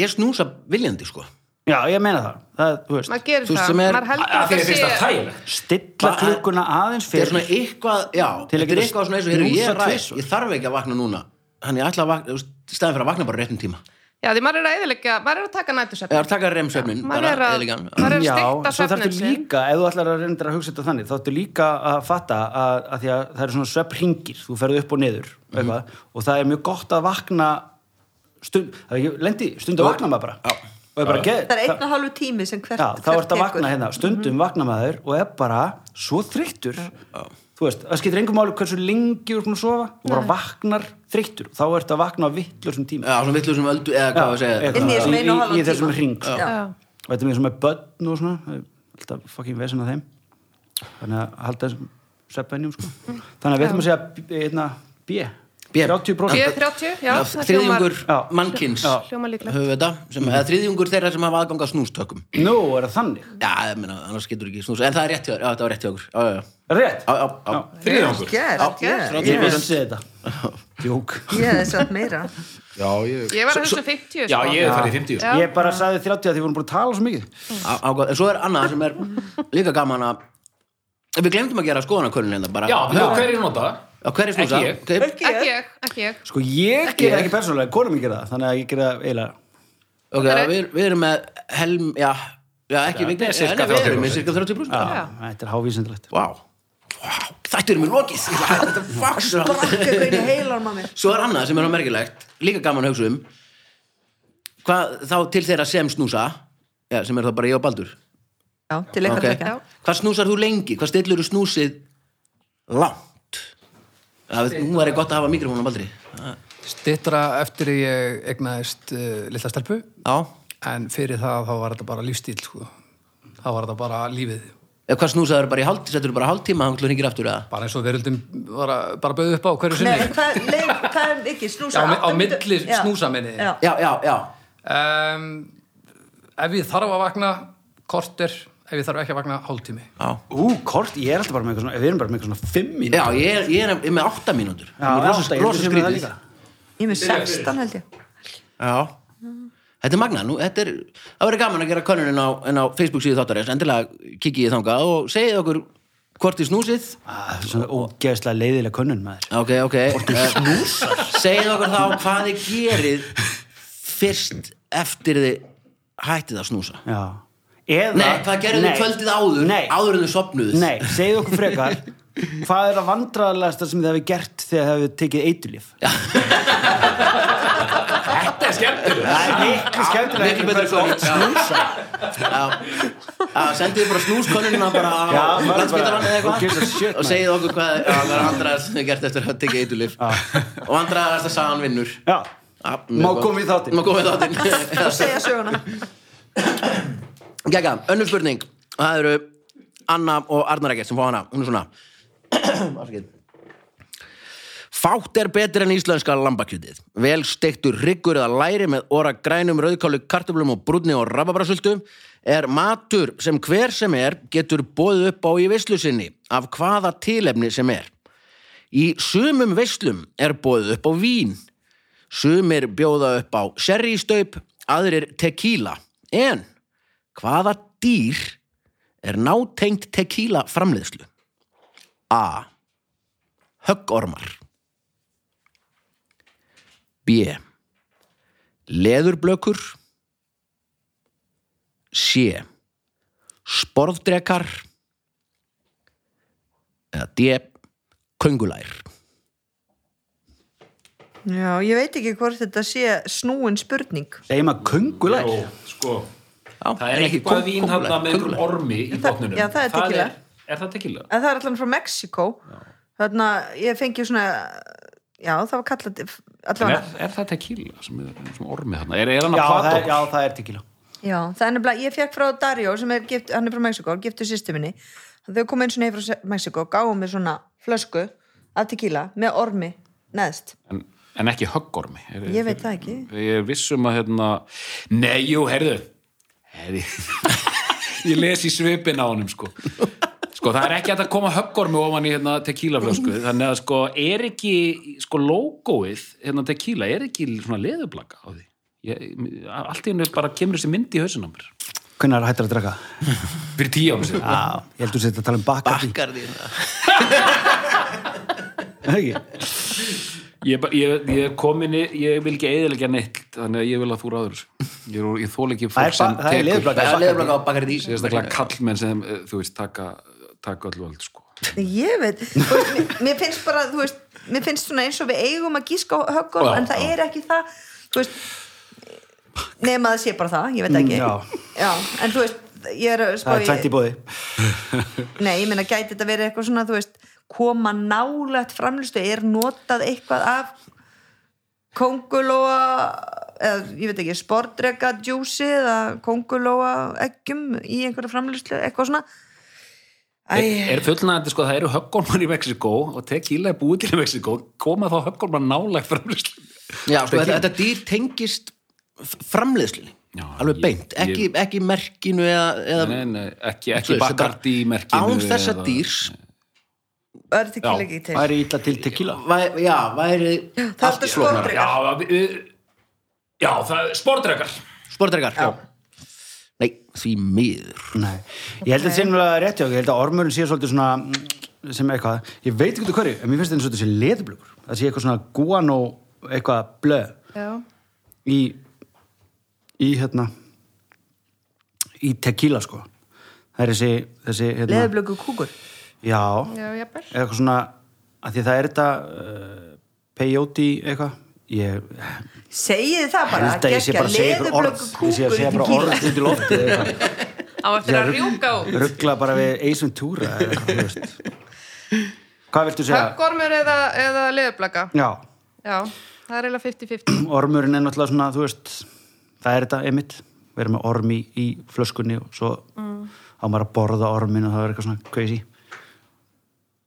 Speaker 1: ég snúsa viljandi, sko.
Speaker 4: Já, ég meina það, það þú veist,
Speaker 5: Maður gerir
Speaker 1: Þú veist
Speaker 5: það,
Speaker 1: sem er-
Speaker 5: maður heldur
Speaker 2: Af því að
Speaker 5: þetta
Speaker 2: finnst það
Speaker 5: sé-
Speaker 2: þægilegt.
Speaker 4: stilla
Speaker 1: Bara-
Speaker 4: klukkuna aðeins
Speaker 1: Þetta er
Speaker 4: fyrir
Speaker 1: svona eitthvað, já,
Speaker 4: Til að
Speaker 1: þetta er
Speaker 4: geta
Speaker 1: eitthvað svona eins og, heyrðu, ég
Speaker 4: snúsað
Speaker 1: er ræð,
Speaker 4: tvisvar.
Speaker 1: ég þarf ekki að vakna núna. Þannig ég ætla að vakna, stæðan fyrir að vakna bara á réttum tíma.
Speaker 5: Já, því maður er að eðilegja, maður er að taka nætursefn
Speaker 1: Eða að taka remsvefnin,
Speaker 5: maður
Speaker 1: bara
Speaker 5: er að,
Speaker 1: eðligan.
Speaker 5: maður er að
Speaker 4: Já,
Speaker 5: stikta
Speaker 4: svo þarftu
Speaker 5: svefnin sinn
Speaker 4: líka, ef þú ætlar að reynda að hugsa þetta þannig, þá þarftu líka að fatta að, að því að það eru svona sveppringir, þú ferðu upp og niður
Speaker 1: Mhm.
Speaker 4: eitthvað, og það er mjög gott að vakna stund, það er ekki, lendi, stund að vakna maður bara
Speaker 1: Já.
Speaker 4: og er bara geð,
Speaker 3: Það er einn og hálfu tími sem hvert,
Speaker 4: Já, þá
Speaker 3: hvert
Speaker 4: ert að vakna
Speaker 3: Mhm.
Speaker 4: hérna, stundum vakna maður og er bara svo þreyttur þú veist, það skiptir engum máli hversu lengi úr búin að sofa, þú bara vaknar þreyttur, þá ert að vakna á vittlusum tíma
Speaker 1: Já, svona vitlu sem öldu, eða hvað við segja.
Speaker 3: Inni í þessum einu og
Speaker 4: í,
Speaker 3: hálfan
Speaker 4: í þessum
Speaker 3: tíma.
Speaker 4: ring sko.
Speaker 3: Já.
Speaker 4: og þetta er mjög sem með börn og svona það er alltaf fucking vesen að þeim þannig að halda þessum sveppenjum sko. þannig að við ætlum að segja b- hérna, B,
Speaker 1: B.
Speaker 4: 30%
Speaker 5: 7.30, já, það
Speaker 1: Þriðjungur
Speaker 4: Já.
Speaker 1: mannkins
Speaker 4: Já.
Speaker 5: Hljómar líklegt.
Speaker 1: höfum við þetta, sem, eða þriðjungur þeirra sem hafa aðgang að snústökum.
Speaker 4: nú er það þannig,
Speaker 1: Já, ég meina, annars getur ekki snús, en það er rétt hjá þér, já, þetta var rétt hjá okkur. Já, já, já.
Speaker 4: rétt
Speaker 1: Já, já, já.
Speaker 2: Þriðjangur.
Speaker 3: Gerð,
Speaker 1: Já,
Speaker 3: gerð.
Speaker 4: ég
Speaker 1: Yes.
Speaker 4: vissi þetta Jók.
Speaker 3: Ég hefði satt meira.
Speaker 2: Já, ég...
Speaker 5: Ég var að hugsa um 50
Speaker 2: Já,
Speaker 5: sko.
Speaker 2: ég er farið í 50.
Speaker 5: Já.
Speaker 4: ég bara sagði 30 að því við vorum búin að tala svo mikið
Speaker 1: Á- ágóð, en svo er annað sem er líka gaman að En við glemdum að gera skoðanakörnun hérna bara
Speaker 2: Já,
Speaker 1: já.
Speaker 2: hverju nota?
Speaker 1: á hverju snúsa
Speaker 2: Ekki ég.
Speaker 1: okay.
Speaker 3: Ekki
Speaker 5: Ekki
Speaker 3: ég.
Speaker 5: ég, ekki ég
Speaker 4: Sko ég gera það ekki persónulega, konum ég gera það þannig að ég gera það eiginlega
Speaker 1: okay,
Speaker 5: Það er-
Speaker 1: við, við erum með helm já, já ekki við,
Speaker 2: þetta er
Speaker 1: nei,
Speaker 2: cirka
Speaker 1: nei, við erum
Speaker 2: 30%.
Speaker 1: með cirka 30%
Speaker 4: Já,
Speaker 1: Já.
Speaker 4: Þetta er hávísindilegt
Speaker 1: Vá, Vá, þetta erum við lokið Ég ætla að hætta þetta fucking
Speaker 3: Brakka
Speaker 1: rátt.
Speaker 3: eitthvað í heilan maður.
Speaker 1: svo er annað sem er á merkilegt líka gaman að hugsa um hvað þá til þeirra sem snúsa já, sem er þá bara ég og Baldur
Speaker 3: Já, til
Speaker 1: Ok.
Speaker 3: eitthvað okay.
Speaker 1: Hvað snúsar þú lengi? Hvað stillur þú snúsið langt? Það, nú er ég gott að hafa mikrofónum aldrei.
Speaker 6: Stittra eftir að ég egnaðist uh, litla stelpu
Speaker 1: Já.
Speaker 6: en fyrir það þá var þetta bara lífstíl sko. þá var þetta bara lífið
Speaker 1: Eða hvað snúsaður bara í hálft, settur þú bara hálftíma, hann klur hengir aftur eða?
Speaker 6: bara eins og veröldum var að, bara bauð upp á
Speaker 3: Nei,
Speaker 6: hverju sinni
Speaker 3: hvað, leið, hvað er ekki snúsa?
Speaker 6: Já, á mi- á
Speaker 3: átta mínútur-
Speaker 6: milli
Speaker 3: Já.
Speaker 6: snúsa, meiniði.
Speaker 3: Já,
Speaker 1: Já, já, já.
Speaker 6: um, ef ég þarf að vakna korter, ef ég þarf ekki að vakna hálftími
Speaker 1: Já,
Speaker 4: Ú, kort, ég er alltaf bara með eitthvað svona við erum bara með eitthvað svona 5
Speaker 1: já
Speaker 4: mínútur
Speaker 1: ég, er, ég er með átta mínútur.
Speaker 4: Já, átta, ég
Speaker 1: rosa
Speaker 4: hugsa með það
Speaker 1: skrítið.
Speaker 4: líka.
Speaker 3: ég er með 16 held ég.
Speaker 1: Já. Þetta er magna, nú, þetta er, það verður gaman að gera könnunin á, en á Facebook síðu þáttarins, endilega kikið ég þangað og segið okkur hvort þið snúsið.
Speaker 4: Á, Ah, Það er svona ógeðslega leiðilega könnun maður
Speaker 1: Ok, ok. Hvort þið snúsar? Segið okkur þá hvað þið gerið fyrst eftir þið hættið að snúsa.
Speaker 4: Já Eða,
Speaker 1: Nei, hvað gerðu þið
Speaker 4: Nei.
Speaker 1: kvöldið áður?
Speaker 4: Nei,
Speaker 1: Áður en þið sopnuðuð?
Speaker 4: nei segðu okkur frekar Hvað er að vandræðalegasta sem þið hefði gert þegar þið hefði tekið eiturlif?
Speaker 2: Þetta er skemmtileg.
Speaker 4: Það er miklu skemmtilega
Speaker 1: Miklu betur kvöld snúsa. Já. Já, sendið bara snúskonunina bara á
Speaker 4: Já, bara-
Speaker 1: landspítalan eða
Speaker 4: Who gives a shit,
Speaker 1: eitthvað og
Speaker 4: man.
Speaker 1: segið okkur hvað já, það er andraðast sem þið gert eftir að tekið eitulif og andraðast að sagan vinnur.
Speaker 4: Já,
Speaker 1: Já,
Speaker 4: Má
Speaker 1: mjög gott.
Speaker 4: koma í þáttinn.
Speaker 1: Má koma í
Speaker 4: *laughs*
Speaker 1: þáttinn.
Speaker 3: Og segja söguna.
Speaker 1: Gæga, önnur spurning og það eru Anna og Arnar Ekkert sem fá hana, hún er svona *clears throat* Afsakið. Fátt er betur en íslenska lambakjötið. Vel steiktur hryggur eða læri með óra grænum, rauðkálu, kartöflum og brúnni og rababrasultu er matur sem hver sem er getur bóðið upp á í veislu sinni af hvaða tilefni sem er. Í sumum veislum er bóðið upp á vín. Sumir bjóða upp á sherrystaup, aðrir tequila. En hvaða dýr er nátengt tequila framleiðslu? A. höggormar B leðurblökur C sporðdrekar eða D köngulær
Speaker 3: Já, ég veit ekki hvort þetta sé snúin spurning.
Speaker 4: Segjum maður köngulær
Speaker 2: Jó, sko,
Speaker 1: Já,
Speaker 2: það er
Speaker 1: ekki
Speaker 2: eitthvað
Speaker 1: kóng-
Speaker 2: vín hann
Speaker 1: kóngulær,
Speaker 2: með einhverjum
Speaker 1: kóngulær.
Speaker 2: ormi í
Speaker 3: það-
Speaker 2: botnunum
Speaker 3: já, það er tequila.
Speaker 2: er, er það tequila?
Speaker 3: En það er allan frá Mexíkó. Þannig að ég fengi svona, já, það var kallat,
Speaker 2: En
Speaker 3: allavega.
Speaker 2: Er, er það tequila sem er sem ormið þarna? Er, er hann
Speaker 4: já,
Speaker 2: að
Speaker 4: það
Speaker 2: plata
Speaker 4: er, já, það er tequila
Speaker 3: Já, það er nefnilega, ég fekk frá Dario sem er gift, hann er frá Mexíkó, giftu sýstu minni. Þau komu eins og neyð frá Mexíkó, gáðu mér svona flösku af tequila með ormi neðst.
Speaker 2: en, en ekki höggormi? Er,
Speaker 3: Ég veit það ekki.
Speaker 2: Ég er viss um að hérna... Nei, jú, herðu. herðu. *laughs* ég les í svipin á honum, sko. Sko, það er ekki hægt að koma höggormi ofan í hérna, tequila-flösku. Þannig að, sko, er ekki, sko, logoið, hérna, tequila, er ekki svona leðublaka á því? Ég, allt í hennu bara kemur þessi mynd í hausinn á mér.
Speaker 4: Hvernig er hættur að draka?
Speaker 2: Fyrir tíu árum
Speaker 4: *laughs*
Speaker 2: sér.
Speaker 4: Já, ég heldur sér að tala um bakkardi
Speaker 1: Bakkarði
Speaker 4: Ekki?
Speaker 2: Ég, ba- ég, ég komin í, ég vil ekki eiðilegja neitt, þannig að ég vil að þú ráður þessu. Ég, er- ég þól ekki
Speaker 4: Það
Speaker 2: fólk
Speaker 4: er,
Speaker 2: sem
Speaker 4: ba- það er leðurblaka
Speaker 1: Það er leðurblaka á bakkarði
Speaker 2: sérstaklega kallmenn sem, eh, þú veist, taka, taka öllu öll, sko.
Speaker 3: Ég veit, þú veist, mér, mér finnst bara, þú veist, mér finnst svona eins og við eigum að gíska á höggum,
Speaker 2: Já,
Speaker 3: en það
Speaker 2: já.
Speaker 3: er ekki það, þú veist, nema það sé bara það, ég veit það ekki.
Speaker 4: Mm,
Speaker 3: já, en þú veist, ég er að spá
Speaker 4: Það er tvennt í bóði
Speaker 3: Nei, ég meina, gæti þetta verið eitthvað svona, þú veist, koma nálægt framlustu, er notað eitthvað af kongulóa, eða, ég veit ekki, sportdrega djúsi eða kongulóa eggjum í einhverja framlustu, eitthvað svona.
Speaker 2: Er, er fullnægandi, sko, það eru höggormar í Mexíkó og tequila er búið til í Mexíkó, koma þá höggormar nálægt framlýslu.
Speaker 1: Já, sko, þetta, þetta dýr tengist f- framleiðslunni,
Speaker 2: Já,
Speaker 1: alveg
Speaker 2: ég-
Speaker 1: beint ekki, ekki merkinu eða, eða
Speaker 2: Nei, nei, ekki,
Speaker 1: Þú
Speaker 2: ekki
Speaker 1: veist,
Speaker 2: bakardi í
Speaker 1: þetta-
Speaker 2: merkinu.
Speaker 1: án þessa
Speaker 2: eða-
Speaker 1: dýrs
Speaker 3: Það er tequila
Speaker 2: Já,
Speaker 3: ekki til.
Speaker 4: Það er illa til tequila
Speaker 1: væ, já, væri
Speaker 3: Það er þetta
Speaker 1: flóknara.
Speaker 3: sportdrega.
Speaker 2: Já, við- við- já, það er spordrekar.
Speaker 1: sportrekar nei, því miður
Speaker 4: Nei, ég held að þetta sé náttúrulega rétt hjá okkur. ég held að ormurinn sé svolítið svona mm, sem eitthvað, ég veit ekki út af hverju en mér finnst þetta eins og þetta sé leðurblökur það sé eitthvað svona guano eitthvað blöð
Speaker 5: Já.
Speaker 4: í, í hérna í tequila sko það er þessi, þessi hérna,
Speaker 3: Leðublöku kúkur.
Speaker 4: já,
Speaker 5: Já, jafnvel.
Speaker 4: eitthvað svona að því að það er þetta uh, peyote eitthvað ég
Speaker 3: Segið þið það bara,
Speaker 4: held að ég sé
Speaker 3: gekkja
Speaker 4: bara að segja ykkur orð
Speaker 3: leðublöku
Speaker 4: ég sé að
Speaker 3: kúkur í
Speaker 4: segja bara
Speaker 3: tequila.
Speaker 4: orð út í loftið eða eitthvað
Speaker 5: Á eftir að rjúka út.
Speaker 4: ruggla bara við Ace Ventura eða eitthvað, þú veist.
Speaker 5: *laughs*
Speaker 4: hvað viltu segja?
Speaker 5: Höggormur eða, eða leðurblaka.
Speaker 4: Já,
Speaker 5: Já, það er eiginlega 50-50.
Speaker 4: ormurinn er náttúrulega svona þú veist, það er þetta einmitt við erum með ormi í flöskunni og svo
Speaker 5: Mm.
Speaker 4: á maður að borða ormin og það er eitthvað svona crazy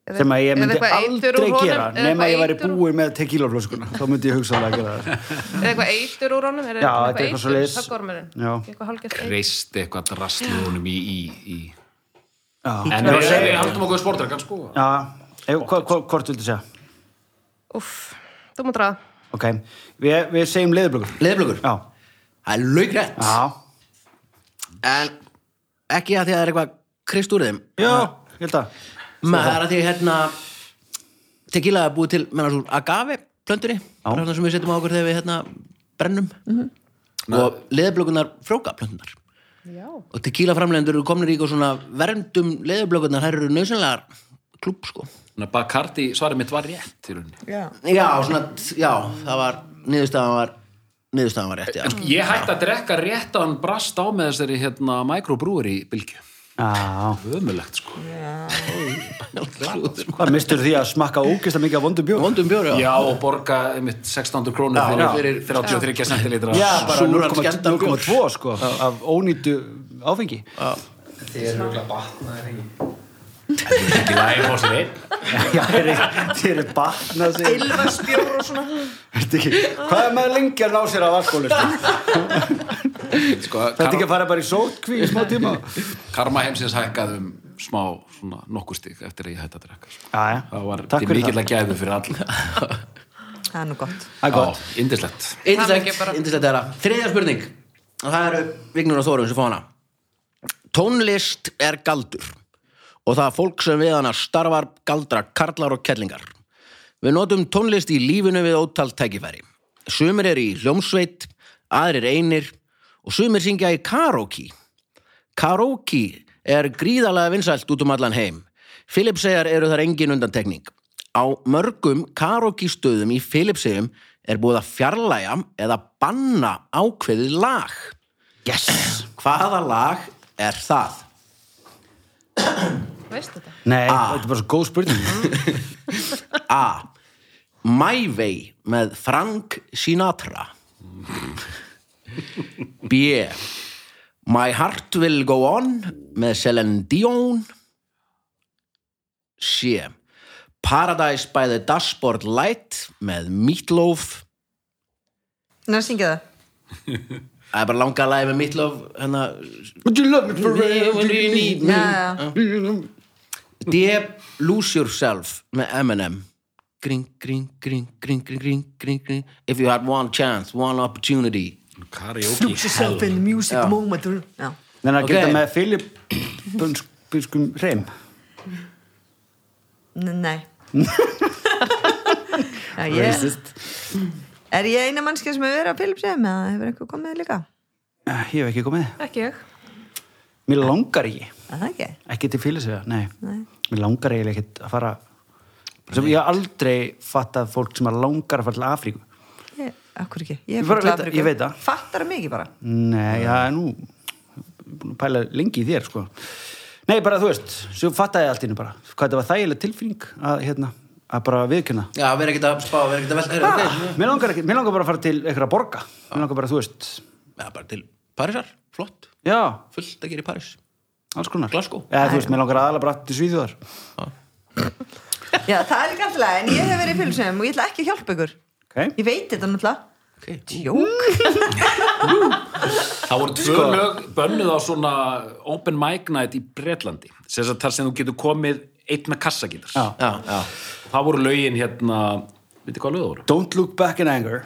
Speaker 5: Eða-
Speaker 4: sem að ég
Speaker 5: eða
Speaker 4: myndi
Speaker 5: eitthvað eitur úr
Speaker 4: aldrei
Speaker 5: honum,
Speaker 4: gera
Speaker 5: eða
Speaker 4: nema
Speaker 5: eitthvað
Speaker 4: ég væri
Speaker 5: eitur úr-
Speaker 4: búin með tequila-flöskuna þá myndi ég hugsa að gera
Speaker 5: *laughs*
Speaker 4: það
Speaker 5: Eða eitthvað eitur úr honum, er
Speaker 4: Já, þetta er eitthvað
Speaker 5: eitur,
Speaker 4: svoleiðis.
Speaker 5: höggormurinn.
Speaker 4: Já.
Speaker 5: Eitthvað hálfgert eitur.
Speaker 2: Reist eitthvað drastlunum í, í, í
Speaker 4: Já,
Speaker 2: En við, við haldum okkur sportrekkan sko
Speaker 4: já ef- hva- hva- hvort viltu segja?
Speaker 5: Úff, þú mútt ráða.
Speaker 4: Ok, við, við segjum leðurblökur
Speaker 1: leðurblökur,
Speaker 4: Já,
Speaker 1: það er laugrætt
Speaker 4: já,
Speaker 1: en ekki að því að það er eitthvað krist úr þeim
Speaker 4: já, ég held að
Speaker 1: maður það er að því hérna tequila er búið til menna, svo, agave plöntunni, bara það sem við setjum á okkur þegar við hérna brennum og leðurblökunar fróka plöntunar
Speaker 5: Já.
Speaker 1: og tequila framlegendur eru komnir í eitthvað svona verndum leðurblökunar, þær eru nöðsynlegar klúb sko
Speaker 2: Þannig að Bacardi, svarið mitt var rétt í rauninni
Speaker 3: Já.
Speaker 1: já, svona, já, það var niðurstaðan var niðurstaðan var rétt, já
Speaker 2: En sko, ég hætti að drekka rétt að hann brast á með þessari hérna mikrobrewery bylgju
Speaker 4: Já,
Speaker 2: Ömulegt sko
Speaker 4: Hvað mistur því að smakka ógeðslega mikið af vondum bjór?
Speaker 1: vondum bjóra,
Speaker 2: Já, og borga einmitt 1600 krónur
Speaker 1: Já,
Speaker 2: fyrir,
Speaker 1: já.
Speaker 2: 33 centilitra
Speaker 4: Já, bara
Speaker 1: Súran
Speaker 4: 0,2
Speaker 1: skemmdan bjór.
Speaker 4: 0,2 sko af ónýtu áfengi
Speaker 2: Ekki lægir á sér einn
Speaker 4: *laughs* Já, þeir eru- þeir eru batnað sig
Speaker 3: Ylfarsbjór og svona.
Speaker 4: Veistu ekki, Hvað er maður lengi að ná sér af alkoholistu?
Speaker 2: sko,
Speaker 4: Þetta
Speaker 2: kar
Speaker 4: ekki að fara bara í sótkví í smá tíma
Speaker 2: Karma heimsins hækkaði um smá svona nokkur stig eftir að ég hætti að drekka sko.
Speaker 4: Já, já,
Speaker 2: Það var
Speaker 4: takk
Speaker 2: til
Speaker 4: fyrir
Speaker 2: mikill
Speaker 4: það
Speaker 2: að gæðu fyrir alla
Speaker 3: Það er nú gott.
Speaker 4: *laughs* Það er gott,
Speaker 2: Já, Indislegt
Speaker 5: Hamingju
Speaker 1: Indislegt,
Speaker 5: bara.
Speaker 1: indislegt er það Þriðja spurning og það eru Vignur og Þórun sem fá hana Tónlist er galdur og það er fólk sem við hana starfar galdra karlar og kellingar Við notum tónlist í lífinu við ótal tækifæri. Sumir eru í hljómsveit, aðrir einir og sumir syngja í karaoke. Karaoke er gríðarlega vinsælt út um allan heim. Filipseyjar eru þar engin undantekning. Á mörgum karaoke-stöðum í Filipseyjum er búið að fjarlæga eða banna ákveðið lag. Yes! Hvaða lag er það?
Speaker 5: veist þetta?
Speaker 4: Nei, þetta er bara svo góð spurning
Speaker 1: A. My Way með Frank Sinatra B. My Heart Will Go On með Celine Dion C. Paradise by the Dashboard Light með Meatloaf
Speaker 3: Nei, syngja það.
Speaker 1: Það er bara langa lagi með Meatloaf hérna
Speaker 4: Would you love me for real? Would you need
Speaker 3: Já, já, já.
Speaker 1: D. Lose Yourself með Eminem Gring, gring, gring, gring, gring, gring, gring, gring If you had one chance, one opportunity
Speaker 2: Karaoke hell.
Speaker 3: in music
Speaker 1: Já.
Speaker 3: moment. Já.
Speaker 4: Þannig að
Speaker 1: Ok.
Speaker 4: geta með Filip Bönskum hreim
Speaker 3: N- Nei.
Speaker 4: *laughs*
Speaker 3: Já, ég, er ég eina mannskja sem hefur verið á Filipsheim eða hefur einhver komið líka?
Speaker 4: Ég hef ekki komið
Speaker 5: Ekki ég.
Speaker 4: Mér langar ekki
Speaker 3: Er það ekki?
Speaker 4: Ekki til Filipseyja, nei. Mér langar eiginlega ekki að fara sem ég hef aldrei fattað fólk sem að langar að fara til Afríku
Speaker 3: Ég, akkur ekki. Ég,
Speaker 4: Ég
Speaker 3: er
Speaker 4: bara
Speaker 3: frá
Speaker 4: veit-
Speaker 3: Afríku.
Speaker 4: ég veit það.
Speaker 3: Fattar það mikið bara.
Speaker 4: Nei, já, nú ég er búin að pæla lengi í þér, sko Nei, bara þú veist, svo fattaði ég allt inni bara hvað þetta var þægileg tilfinning að, hérna, að bara viðkjöna
Speaker 1: Já, við erum ekkert að spá, við erum ekkert að velta heyrðu, ok.
Speaker 4: Mér langar, ekki, mér langar bara að fara til einhverja borga Mér langar bara, þú veist,
Speaker 1: Já, bara til Parísar, flott,
Speaker 4: já,
Speaker 1: fullt að gera í París
Speaker 4: alls konar
Speaker 1: Glasgow.
Speaker 4: Já, þú veist, mér langar aðalega bara til Svíþjóðar
Speaker 3: Já, það er ekki alltaf, en ég hef verið í Filipsheim og ég ætla ekki að hjálpa ykkur.
Speaker 4: Ok,
Speaker 3: Ég veit þetta náttúrulega.
Speaker 1: okay.
Speaker 3: Jók.
Speaker 4: *laughs*
Speaker 2: Það voru
Speaker 4: Sko-
Speaker 2: tvö lög bönnuð á svona open mic night í Bretlandi sem þess að þar sem þú getur komið eitt með kassagítars
Speaker 4: Já.
Speaker 1: Já, já,
Speaker 2: Það voru lögin hérna veitir hvað lög það voru?
Speaker 4: Don't look back in anger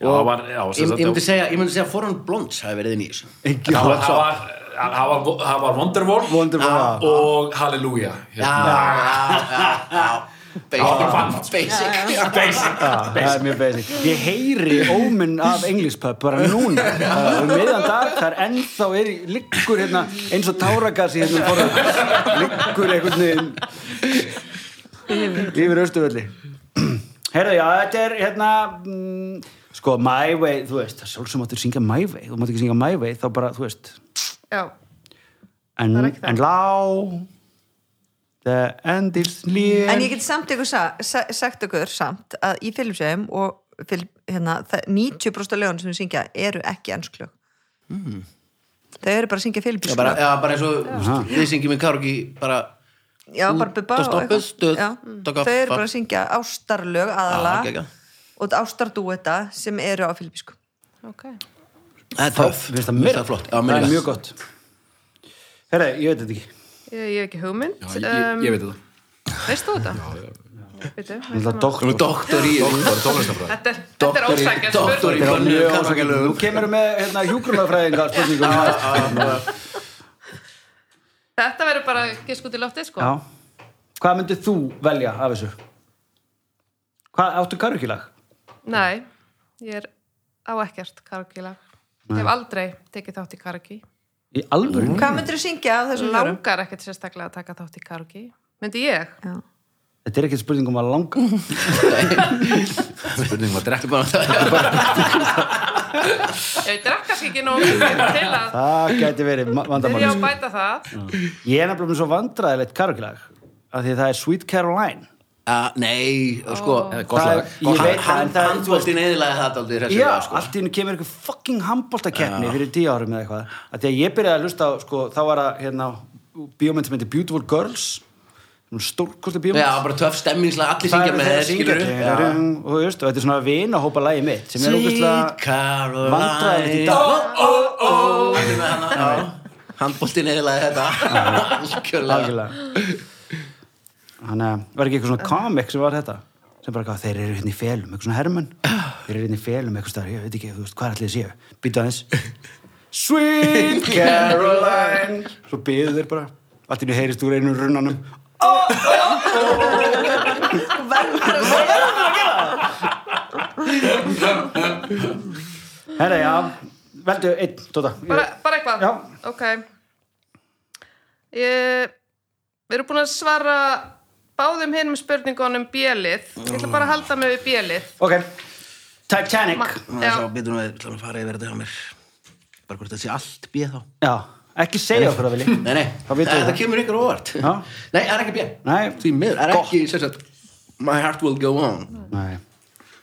Speaker 2: Já, það var, já,
Speaker 1: ég,
Speaker 2: sem
Speaker 1: ég myndi
Speaker 2: sagt,
Speaker 1: segja, ég myndi segja Foran Blondes hafi verið inn í þessu
Speaker 4: Ekki
Speaker 2: það var- það var- það var það var Wonderwall,
Speaker 4: Wonderwall,
Speaker 2: Ah,
Speaker 4: já.
Speaker 2: og Hallelujah
Speaker 1: Já,
Speaker 2: hérna.
Speaker 1: já, já, já Basic, basic já.
Speaker 2: Basic
Speaker 4: Það er mjög basic. Ég heyri óminn af englispöp bara *laughs* núna. Það er meðan dag, það er ennþá er, í- liggur hérna eins og táragasi hérna forðan. Liggur einhvern veginn yfir austurvöldi. Herra, já, þetta er hérna, mm, sko, My Way, þú veist, það er sjálfsög máttu syngja My Way. Þú máttu ekki syngja My Way, þá bara, þú veist,
Speaker 5: Já,
Speaker 4: en,
Speaker 5: Það er ekki það.
Speaker 4: en lá, the end is near.
Speaker 3: En ég get samt ykkur sa, sa, sagt ykkur samt að í Filipsheim og Filip, hérna, það- 90% af lögun sem við syngja eru ekki ennsk lög. Mm. Þau eru bara að syngja
Speaker 1: Hmm. Já,
Speaker 3: Filipsheim.
Speaker 1: bara, já, bara eins og þú veist, við syngjum í Karogi bara
Speaker 3: Já, bara bubba
Speaker 1: Dost
Speaker 3: og
Speaker 1: og
Speaker 3: eitthvað.
Speaker 1: bustuð,
Speaker 3: Já.
Speaker 1: taka
Speaker 3: Þau eru
Speaker 1: fa-
Speaker 3: bara að syngja ástarlög
Speaker 1: Já,
Speaker 3: aðalega
Speaker 1: geggjað.
Speaker 3: og ástardúeta sem eru á filipísku.
Speaker 5: ok.
Speaker 1: Það er töff,
Speaker 4: Mér finnst það meira
Speaker 1: Mér flott Já,
Speaker 4: Það
Speaker 1: mér
Speaker 4: er
Speaker 1: líka.
Speaker 4: mjög gott. Herra, ég veit þetta ekki.
Speaker 5: Ég, ég hef ekki hugmynd.
Speaker 2: Já, ég, ég veit það
Speaker 5: Veist þú þetta? Já, já. Veitu,
Speaker 4: Það er
Speaker 1: Þú erum
Speaker 4: doktor.
Speaker 1: doktor í
Speaker 2: Það er tónlistafræði
Speaker 5: Þetta er, þetta er
Speaker 1: Doktor í-
Speaker 5: ósækjast
Speaker 1: doktor í-
Speaker 5: spurning.
Speaker 4: Þetta var mjög
Speaker 1: Gömlu
Speaker 4: ásakilegu. Nú kemur við með hérna,
Speaker 1: *laughs*
Speaker 4: hjúkrumafræðinga spurningum.
Speaker 5: Þetta verður bara gisk út í loftið, sko.
Speaker 4: Já. Hvað myndir þú velja af þessu? Hvað áttu karukílag?
Speaker 5: Nei, ég er á ekkert karaoke-lag. Ég hef aldrei tekið þátt í karaoke.
Speaker 4: Í alvöru?
Speaker 3: Hvað myndir þú syngja af þessum lögum?
Speaker 5: Langar ekkert sérstaklega að taka þátt í karaoke. Myndi ég?
Speaker 4: Þetta er ekkert spurning um að langa. *laughs*
Speaker 2: Spurning um var drekk
Speaker 1: Doktor
Speaker 5: Ég drakk kannski ekki nóg mikið til að
Speaker 4: Það gæti verið ma- vandamál.
Speaker 5: byrja að bæta það.
Speaker 4: Ég er nefnilega með svo vandræðilegt karukílag. Af því að það er Sweet Caroline.
Speaker 1: Já, Nei, og sko
Speaker 4: Það er-
Speaker 1: Og hann,
Speaker 4: Ég veit það,
Speaker 1: hann,
Speaker 4: en það
Speaker 1: hann
Speaker 4: er... þú veist-
Speaker 1: þvótti neðilega þetta aldrei þessu
Speaker 4: Já,
Speaker 1: dag, sko.
Speaker 4: allt í hennu kemur einhver fucking handbóltakeppni fyrir tíu árum eða eitthvað. Af Því að ég byrjaði að hlusta á, sko, þá var það, hérna, bíómynd sem heitir Beautiful Girls, stórkosti bíómynd.
Speaker 1: Já, bara töff stemmingslega, allir syngja með
Speaker 4: þeir
Speaker 1: þeir, skilur
Speaker 4: og, þú veist, og þetta er svona vinahópa lagi mitt sem er ógustlega
Speaker 1: Caroline
Speaker 4: vandræðilegt í dag.
Speaker 1: Ó, ó, ó Allir með hana, já Handbóltin eðlaði þetta *laughs* Algjörlega
Speaker 4: algjörlega þannig að var ekki eitthvað svona komik sem var þetta sem bara hvað, þeir eru hérna í felum, eitthvað svona hermun þeir eru hérna í felum, eitthvað starf, ég veit ekki þú veist, hvað allir séu, býta aðeins Sweet Caroline svo býðu þeir bara allt í henni heyrist úr einu runnanum
Speaker 3: Sko,
Speaker 4: Herra, já, veldu einn, Tóta
Speaker 5: bara, bara eitthvað?
Speaker 4: Já.
Speaker 5: Ok. Ég, við erum búin að svara báðum hinum spurningunum bjelið. Ég ætla bara að halda mig við bjelið.
Speaker 4: Ok, Titanic
Speaker 5: Já,
Speaker 1: Sá, býtum við, ætlum að fara yfir þetta hjá mér. Bara hvort þetta sé allt bíð þá.
Speaker 4: Já, ekki segja okkur að vilji
Speaker 1: Nei, nei,
Speaker 4: Þá vitum við
Speaker 1: það
Speaker 4: það.
Speaker 1: kemur ykkur á *laughs* óvart.
Speaker 4: Já.
Speaker 1: Nei, það er ekki bíð.
Speaker 4: Nei.
Speaker 1: Því miður, það er
Speaker 4: Gott.
Speaker 1: ekki, sem sagt, my heart will go on.
Speaker 4: Nei,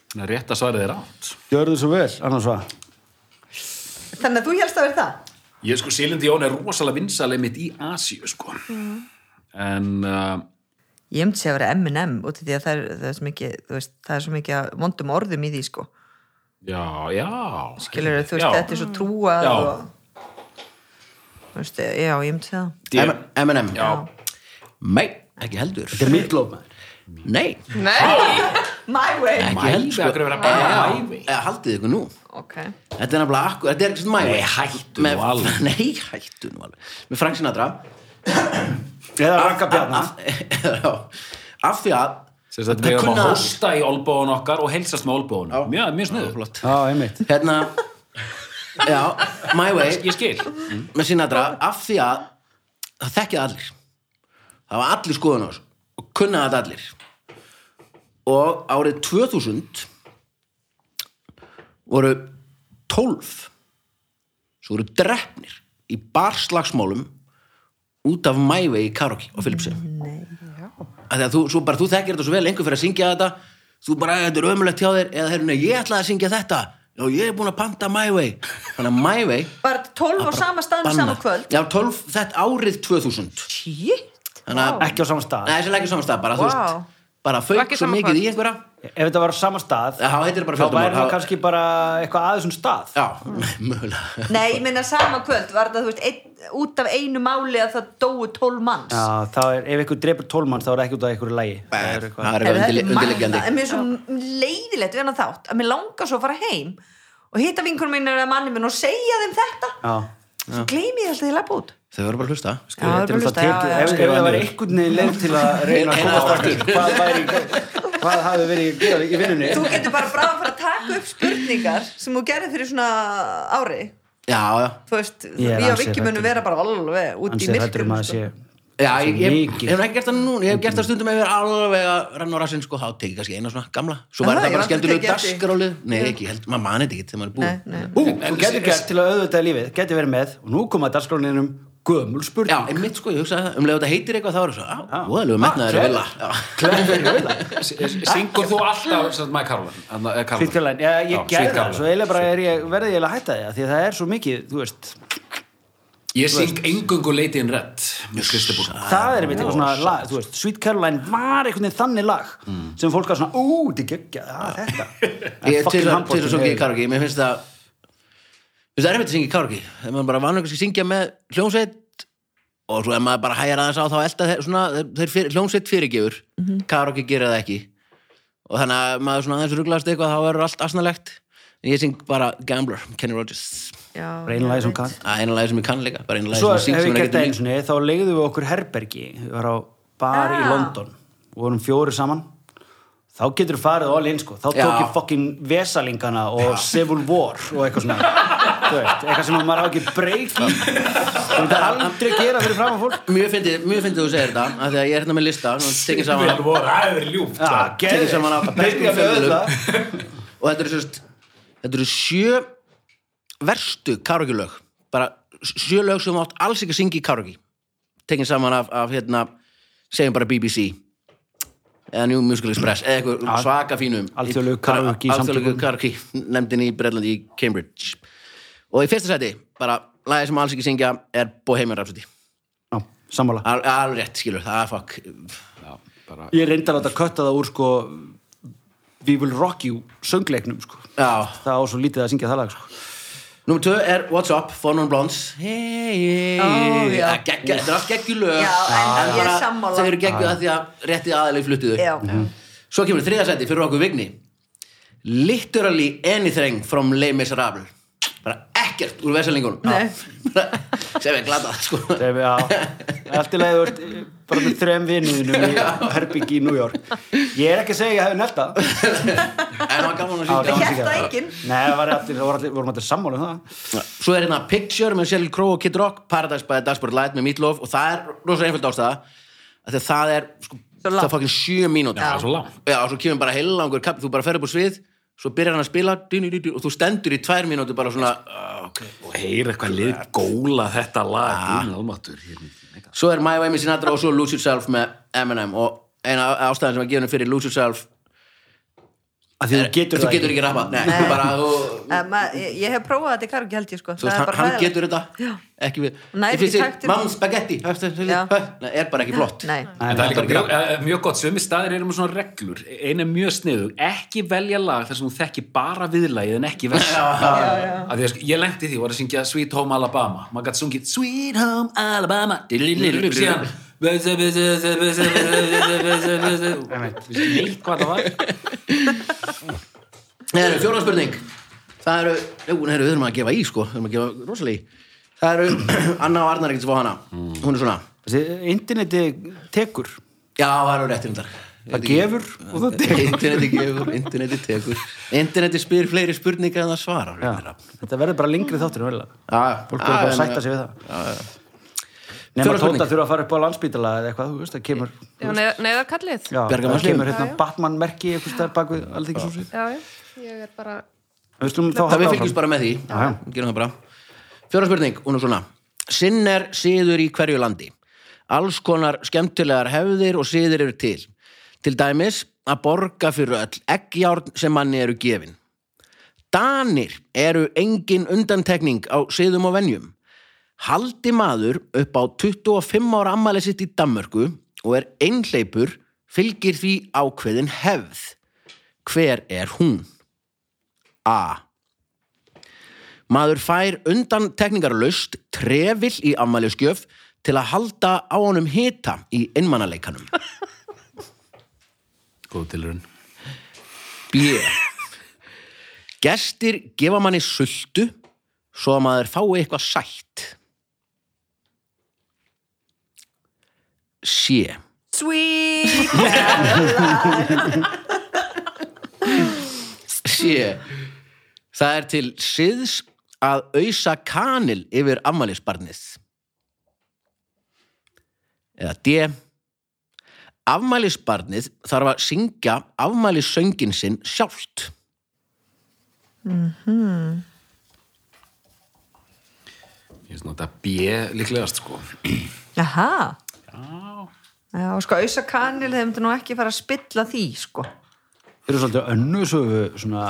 Speaker 2: Þannig að rétt að svarið er átt.
Speaker 4: gjörðu svo vel, annars var
Speaker 3: Þannig að þú helst að vera það
Speaker 2: Ég sko, Silindi Jón er rosalega vinsaleg mitt í Asíu, sko. En uh,
Speaker 3: Ég myndi segja að vera M&M út af því að það er, það er svo mikið þú veist, það er svo mikið að vondum orðum í því sko
Speaker 2: já, já.
Speaker 3: skilur þú veist,
Speaker 2: Já.
Speaker 3: þetta er svo trúað
Speaker 2: Já.
Speaker 3: og þú veist, já, ég myndi segja það
Speaker 2: Ég-
Speaker 1: M- M&M.
Speaker 2: Já.
Speaker 1: Nei, ekki heldur.
Speaker 4: Þetta er mitlóf maður
Speaker 1: Nei,
Speaker 5: nei,
Speaker 3: My way
Speaker 1: ekki
Speaker 2: Mævi,
Speaker 1: heldur.
Speaker 2: akkur er verið að bæja mævi.
Speaker 1: Eða haldið ykkur nú.
Speaker 3: Ok,
Speaker 1: Þetta er nefnilega akkur, þetta er svona mæmi.
Speaker 2: Nei, hættu
Speaker 1: Með-
Speaker 2: nú alveg.
Speaker 1: *laughs* Nei, hættu nú alveg. Með Frank Sinatra.
Speaker 4: Eða Raka Bjarna
Speaker 1: *laughs* Já. Af því að...
Speaker 2: Sem sagt,
Speaker 1: Þetta
Speaker 2: við erum að
Speaker 1: kunna-
Speaker 2: hósta í olbóðun okkar og heilsast með olbóðunum. Mjög, mjög
Speaker 1: Já,
Speaker 2: sniður.
Speaker 1: flott.
Speaker 4: Já, einmitt
Speaker 1: Hérna,
Speaker 2: *laughs*
Speaker 1: já, my way.
Speaker 2: Ég skil.
Speaker 1: með Sinatra af því að það þekkja það allir það var allir skoðun á þessu og kunna þetta allir og árið 2000 voru 12 svo voru drefnir í barslagsmálum út af mævei í karaoke á Philipsi að að þú, svo bara þú þekkir þetta svo vel einhver fyrir að syngja þetta þú bara, þetta er ömulegt hjá þér eða heyrðu, nei, ég ætlaði að syngja þetta og ég er búin að panta mævei þannig að mævei
Speaker 3: bara 12 á sama staðinu
Speaker 1: Banna.
Speaker 3: sama kvöld
Speaker 1: Já, 12, þetta árið 2000
Speaker 3: Shit
Speaker 1: Þannig að,
Speaker 4: Ekki á sama stað
Speaker 1: nei, þessi er ekki saman stað, bara,
Speaker 3: Vá.
Speaker 1: þú veist bara fauk
Speaker 5: Ekki
Speaker 1: svo
Speaker 5: sama
Speaker 1: mikið
Speaker 5: kvöld.
Speaker 1: í einhverja
Speaker 4: Ef þetta var á sama stað
Speaker 1: Já, þetta er bara
Speaker 4: Þá væri
Speaker 1: fjöldamál
Speaker 4: það kannski bara eitthvað aðeins um stað
Speaker 1: Já, *laughs* mögulega
Speaker 3: Nei, ég meina sama kvöld var þetta, þú veist, ein, út af einu máli að það dóu 12 manns
Speaker 4: Já, þá er, ef einhver drepur tólmann þá er það ekki út af einhverju lægi Það er eitthvað-
Speaker 1: Það er
Speaker 3: Heyrðu,
Speaker 1: undirli-
Speaker 3: þetta er
Speaker 1: undirliggjandi
Speaker 3: magnað, En mér er svo leiðilegt við hennar þátt að mér langar svo að fara heim og hitta vinkunum mínu eða manni minn og segja þeim þetta
Speaker 4: Já,
Speaker 3: svo gleymi ég alltaf til að bút
Speaker 1: Þau voru bara að hlusta
Speaker 3: Já,
Speaker 4: Sko, þetta er
Speaker 3: bara
Speaker 4: náttúrulega
Speaker 3: hlusta, já,
Speaker 4: tekið-
Speaker 3: já,
Speaker 4: ef-
Speaker 2: já.
Speaker 4: Ef það var einhvern veginn leið til að reyna að
Speaker 1: Reyna
Speaker 4: komast
Speaker 1: aftur.
Speaker 4: aftur Hvað væri, hvað hafði verið að gera í vinnunni
Speaker 3: Þú getur bara bráð að fara að taka upp spurningar sem þú gerði fyrir svona ári
Speaker 1: Já, já,
Speaker 3: Þú veist,
Speaker 4: Ég er
Speaker 3: ég og
Speaker 4: ansi
Speaker 3: Viki munum
Speaker 4: hræddur.
Speaker 3: vera bara alveg út
Speaker 4: Hann
Speaker 3: í
Speaker 4: sé hættur um
Speaker 3: myrkrum
Speaker 4: að
Speaker 3: sko.
Speaker 4: sé
Speaker 1: já ég, ég, ég,
Speaker 4: Mikið.
Speaker 1: hef ekki gert það núna Ég hef gert það stundum ef ég er alveg að renna á rassinn sko, þá tekið kannski eina svona gamla Svo
Speaker 3: Aha,
Speaker 1: var
Speaker 3: ég
Speaker 1: það
Speaker 3: hef
Speaker 1: bara
Speaker 3: aldrei
Speaker 1: skemmtilegu
Speaker 3: tekið eftir.
Speaker 1: dasgrálið Nei, ekki, held, maður mani þetta ekki þegar maður er
Speaker 3: Nei,
Speaker 1: búið
Speaker 4: Ú,
Speaker 3: nei.
Speaker 4: þú getur gert til að auðvitað lífið Getur verið með og nú koma dagskróninum gömul spurning *laughs*
Speaker 1: Já, einmitt sko, ég hugsaði það, um leið og þetta heitir eitthvað þá er það svo, á,
Speaker 3: Ah,
Speaker 1: voðalegu metnaður
Speaker 4: clever.
Speaker 1: vilja Já,
Speaker 2: Syngur þú alltaf, sem sagt, My Caroline? Þarna, eh, Caroline.
Speaker 4: Sweet Caroline, já, ég
Speaker 2: Já,
Speaker 4: gerði
Speaker 2: Sweet
Speaker 4: það,
Speaker 2: Caroline.
Speaker 4: svo eiginlega bara er ég, verði ég eiginlega að hætta því að því að það er svo mikið, þú veist,
Speaker 2: Ég syng engungu Lady in Red með Kristibúr
Speaker 4: það er einmitt eitthvað svona lag, þú veist, Sweet Caroline var einhvern veginn þannig lag sem fólk var svona, ú, þetta er geggja, það er þetta.
Speaker 1: *laughs* Ég er
Speaker 4: Fucking
Speaker 1: til að-
Speaker 4: handboltinn
Speaker 1: til að syngja í
Speaker 4: er-
Speaker 1: karaoke, mér finnst það finnst það erfitt að syngja í karaoke þegar maður bara vanur kannski að syngja með hljómsveit og svo ef maður bara hægir aðeins á þá elda þeir, svona, þeir- þeir fyrir, hljómsveit fyrirgefur
Speaker 4: Mhm.
Speaker 1: karaoke gerir það ekki og þannig að maður svona aðeins rugglast eitthvað þá verður allt asnalegt en ég syng bara Gambler, Kenny Rogers
Speaker 3: Já,
Speaker 4: Bara einu lagi sem hún kann.
Speaker 1: að eina lagi sem ég kann líka, bara eina lagi
Speaker 4: Svo
Speaker 1: sem ég syng
Speaker 4: hef
Speaker 1: sem
Speaker 4: ég
Speaker 1: ég
Speaker 4: gert
Speaker 1: getur
Speaker 4: það einu
Speaker 1: líka
Speaker 4: sinni, þá legðum við okkur herbergi, við varum á bar í
Speaker 3: Ah.
Speaker 4: London, við vorum fjóri saman, þá getur farið all in, sko, þá tók
Speaker 1: Já.
Speaker 4: ég fucking Vesalingana og Civil War og
Speaker 1: *laughs*
Speaker 4: eitthvað svona, þú veist, eitthvað sem maður á ekki breyk í, þú veit aldrei gera fyrir fram fólk.
Speaker 1: Mjög fyndið, mjög fyndið þú segir þetta af því að ég er hérna með lista, nú tekið saman
Speaker 2: Það er ljúft
Speaker 4: Já,
Speaker 2: það.
Speaker 1: tekið saman á
Speaker 4: Byrja
Speaker 1: bestum
Speaker 4: með
Speaker 1: fjölmiðlum
Speaker 4: það.
Speaker 1: og þetta eru sérst þetta eru sjö verstu karaoke-lög bara sjö lög sem þú átt alls ekki að syngja í karaoke tekin saman af, af hérna segjum bara BBC eða New Musical Express eða eitthvað svaka fínum
Speaker 4: Alþjóðlegu karaoke
Speaker 1: alþjóðlegu
Speaker 4: samtökum.
Speaker 1: karaoke nefndin í Breitlandi í Cambridge og í fyrsta seti bara lagið sem alls ekki syngja er Bohemian Rhapsody
Speaker 4: Já, sammála.
Speaker 1: Al- alveg rétt skilur það er fuck
Speaker 2: Já, bara-
Speaker 4: Ég reyndi að láta kötta það úr sko We Will Rock You söngleiknum sko.
Speaker 1: já
Speaker 4: Það á svo lítið að syngja það lag sko.
Speaker 1: Númer 2 er What's Up, Fun and Blondes Hey, hey,
Speaker 3: Ó, já.
Speaker 1: Það geggja- Þetta er allt geggjulög
Speaker 3: Já, en ég er sammála.
Speaker 1: Það eru geggjuð að því að rétti aðalegi fluttu þau
Speaker 3: Já.
Speaker 1: Svo kemur þriðasæti fyrir okkur vigni Literally anything from Les Miserables Bara ekkert úr veselingunum
Speaker 3: Nei.
Speaker 1: *laughs* sem er glatað sko.
Speaker 4: Þegar við á Allt í lagi þú ert eh, bara með þrem vinniðinum í herbyggi í New York Ég er ekki að segja að ég hefði nelta
Speaker 1: en það var gaman að
Speaker 3: Ég
Speaker 1: syngja
Speaker 3: hélt það enginn.
Speaker 4: Nei, það var allir, það var allir, vorum allir sammála um það
Speaker 1: Svo er hérna Picture með Sheryl Crow og Kid Rock Paradise by Dashboard Light með Meatloaf og það er rosa einföld ástæða af því að það er sko,
Speaker 3: Svo
Speaker 1: það
Speaker 3: langt.
Speaker 1: er fokkin sjö mínúti
Speaker 2: það er svo langt.
Speaker 1: Já, og svo kemur bara heilangur kapp þú bara ferð upp á svið, svo byrjar hann að spila dýni, dýni, og þú stendur í tvær mínúti bara svona
Speaker 2: og heyra eitthvað lið góla þetta lag hérna. Guð minn almáttugur, ég myndi ekki neitt.
Speaker 1: svo er My Way með Sinatra og svo Lose Yourself með Eminem og eina ástæðan sem að gefa henni fyrir Lose Yourself
Speaker 4: Af Því Eh, þú getur
Speaker 1: þú
Speaker 4: það
Speaker 1: getur ekki rappa, nei, þú bara þú,
Speaker 3: Eh, ma- Ég ég hef prófað þetta í kargi held ég sko
Speaker 1: þú veist,
Speaker 3: Það er
Speaker 1: hann,
Speaker 3: bara
Speaker 1: hann
Speaker 3: hræðilegt.
Speaker 1: getur þetta ekki við,
Speaker 3: Nær
Speaker 1: Ég finnst
Speaker 3: ekki
Speaker 1: þér,
Speaker 3: taktinum.
Speaker 1: Mamma spagetti
Speaker 3: Já.
Speaker 1: Nei, er bara ekki flott
Speaker 3: Nei,
Speaker 2: En það er líka mjög, eh, mjög gott, sömu staðir eru með svona reglur einu er mjög sniðug, ekki velja lag þar sem þú þekki bara viðlagið en ekki vers *laughs* Af því að sko, ég lengti því, var að syngja Sweet Home Alabama maður gætt sungið Sweet Home Alabama dililililil, síðan *laughs* Bese, bese, bese, bese, bese, bese, bese. Vissi ekki neitt hvað það var
Speaker 1: Það eru fjóra spurning Það eru, jú, nei, heyrðu, við erum að gefa í sko Við erum að gefa rosalega í Það eru *clears throat* Anna og Arnar er ekkert svo hana
Speaker 4: Mm.
Speaker 1: Hún er svona
Speaker 4: Þessi interneti tekur
Speaker 1: Já, það eru réttir um þar
Speaker 4: Það gefur og það tekur
Speaker 1: Interneti gefur, interneti
Speaker 4: *laughs*
Speaker 1: tekur Interneti spyr fleiri spurningar en það svarar
Speaker 4: Já, Þetta verður bara lengri þáttur en verður
Speaker 1: Já,
Speaker 4: Fólk
Speaker 1: Ah, já,
Speaker 4: verður bara
Speaker 1: en-
Speaker 4: að sætta sig við það Nefn
Speaker 1: Fjóra
Speaker 4: að tóta
Speaker 1: spurning.
Speaker 4: þurfa að fara upp á landspítala eða eitthvað, þú veist, það kemur
Speaker 5: Já, neð, neðarkallið
Speaker 4: Já,
Speaker 1: Bjarga
Speaker 4: það
Speaker 1: mannslífum.
Speaker 4: kemur hérna Batman-merki eitthvað stær bak við alþingisúsið
Speaker 5: Já, já, ég er bara
Speaker 4: Við slum þá
Speaker 1: Það
Speaker 4: halda
Speaker 1: við
Speaker 4: áfram.
Speaker 1: fylgjumst bara með því
Speaker 4: Já, já.
Speaker 1: Gerum það bara Fjóra spurning, hún er svona Sinner siður í hverju landi Alls konar skemmtilegar hefðir og siðir eru til Til dæmis að borga fyrir öll eggjárn sem manni eru gefin Danir eru engin undantekning á siðum og venjum Haldi maður upp á 25 ára ammæli sitt í Danmörku og er einhleipur fylgir því ákveðin hefð Hver er hún? A. Maður fær undan tekningarlaust trefill í ammæliskjöf til að halda á honum hita í einmannaleikanum.
Speaker 2: Góð tilurinn
Speaker 1: B. Gestir gefa manni sultu svo að maður fái eitthvað sætt. C.
Speaker 3: Sweet
Speaker 1: C. Það er til siðs að ausa kanil yfir ammælisbarnið. Eða D. Afmælisbarnið þarf að syngja afmælissöngin sinn sjálft.
Speaker 2: Ég finnst nota B líklegast sko
Speaker 3: Jaha Já, sko, auðsa kanil þeim þetta nú ekki fara að spilla því, sko.
Speaker 4: Þeir eru svolítið önnu sögu svona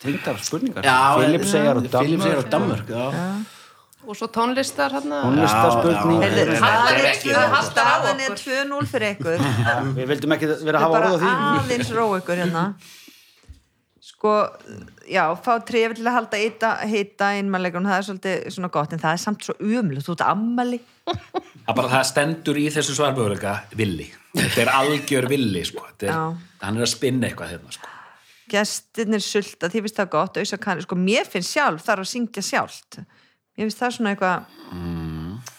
Speaker 4: tengdar spurningar
Speaker 1: en-
Speaker 4: Filipseyjar og
Speaker 1: Filippseyjar
Speaker 4: Dammur
Speaker 1: og Danmörk, já.
Speaker 5: og svo tónlistar hérna
Speaker 4: Tónlistarspurning
Speaker 1: Já, já,
Speaker 4: Heyrðu,
Speaker 1: já.
Speaker 5: Það
Speaker 3: Staðan
Speaker 5: er
Speaker 3: er-
Speaker 5: ekki- það er haldið á
Speaker 3: Staðan er 2-0
Speaker 5: okkur.
Speaker 3: fyrir ykkur.
Speaker 4: Við vildum ekki vera að
Speaker 3: Þau
Speaker 4: hafa
Speaker 3: bara
Speaker 4: orðið á því
Speaker 3: aðeins ró ykkur hérna. Sko, já, fá trefi til að halda ita, hita innmæleikum, það er svolítið svona gott, en það er samt svo umlut, þú ert ammæli.
Speaker 2: Það bara það stendur í þessu svarmöguleika villi. Þetta er algjör villi, sko. Þetta Er,
Speaker 3: Já.
Speaker 2: hann er að spinna eitthvað hérna, sko.
Speaker 3: gestirnir sulta, því finnst það gott auðvitað kanni, sko mér finnst sjálf þarf að syngja sjálft mér finnst það svona eitthvað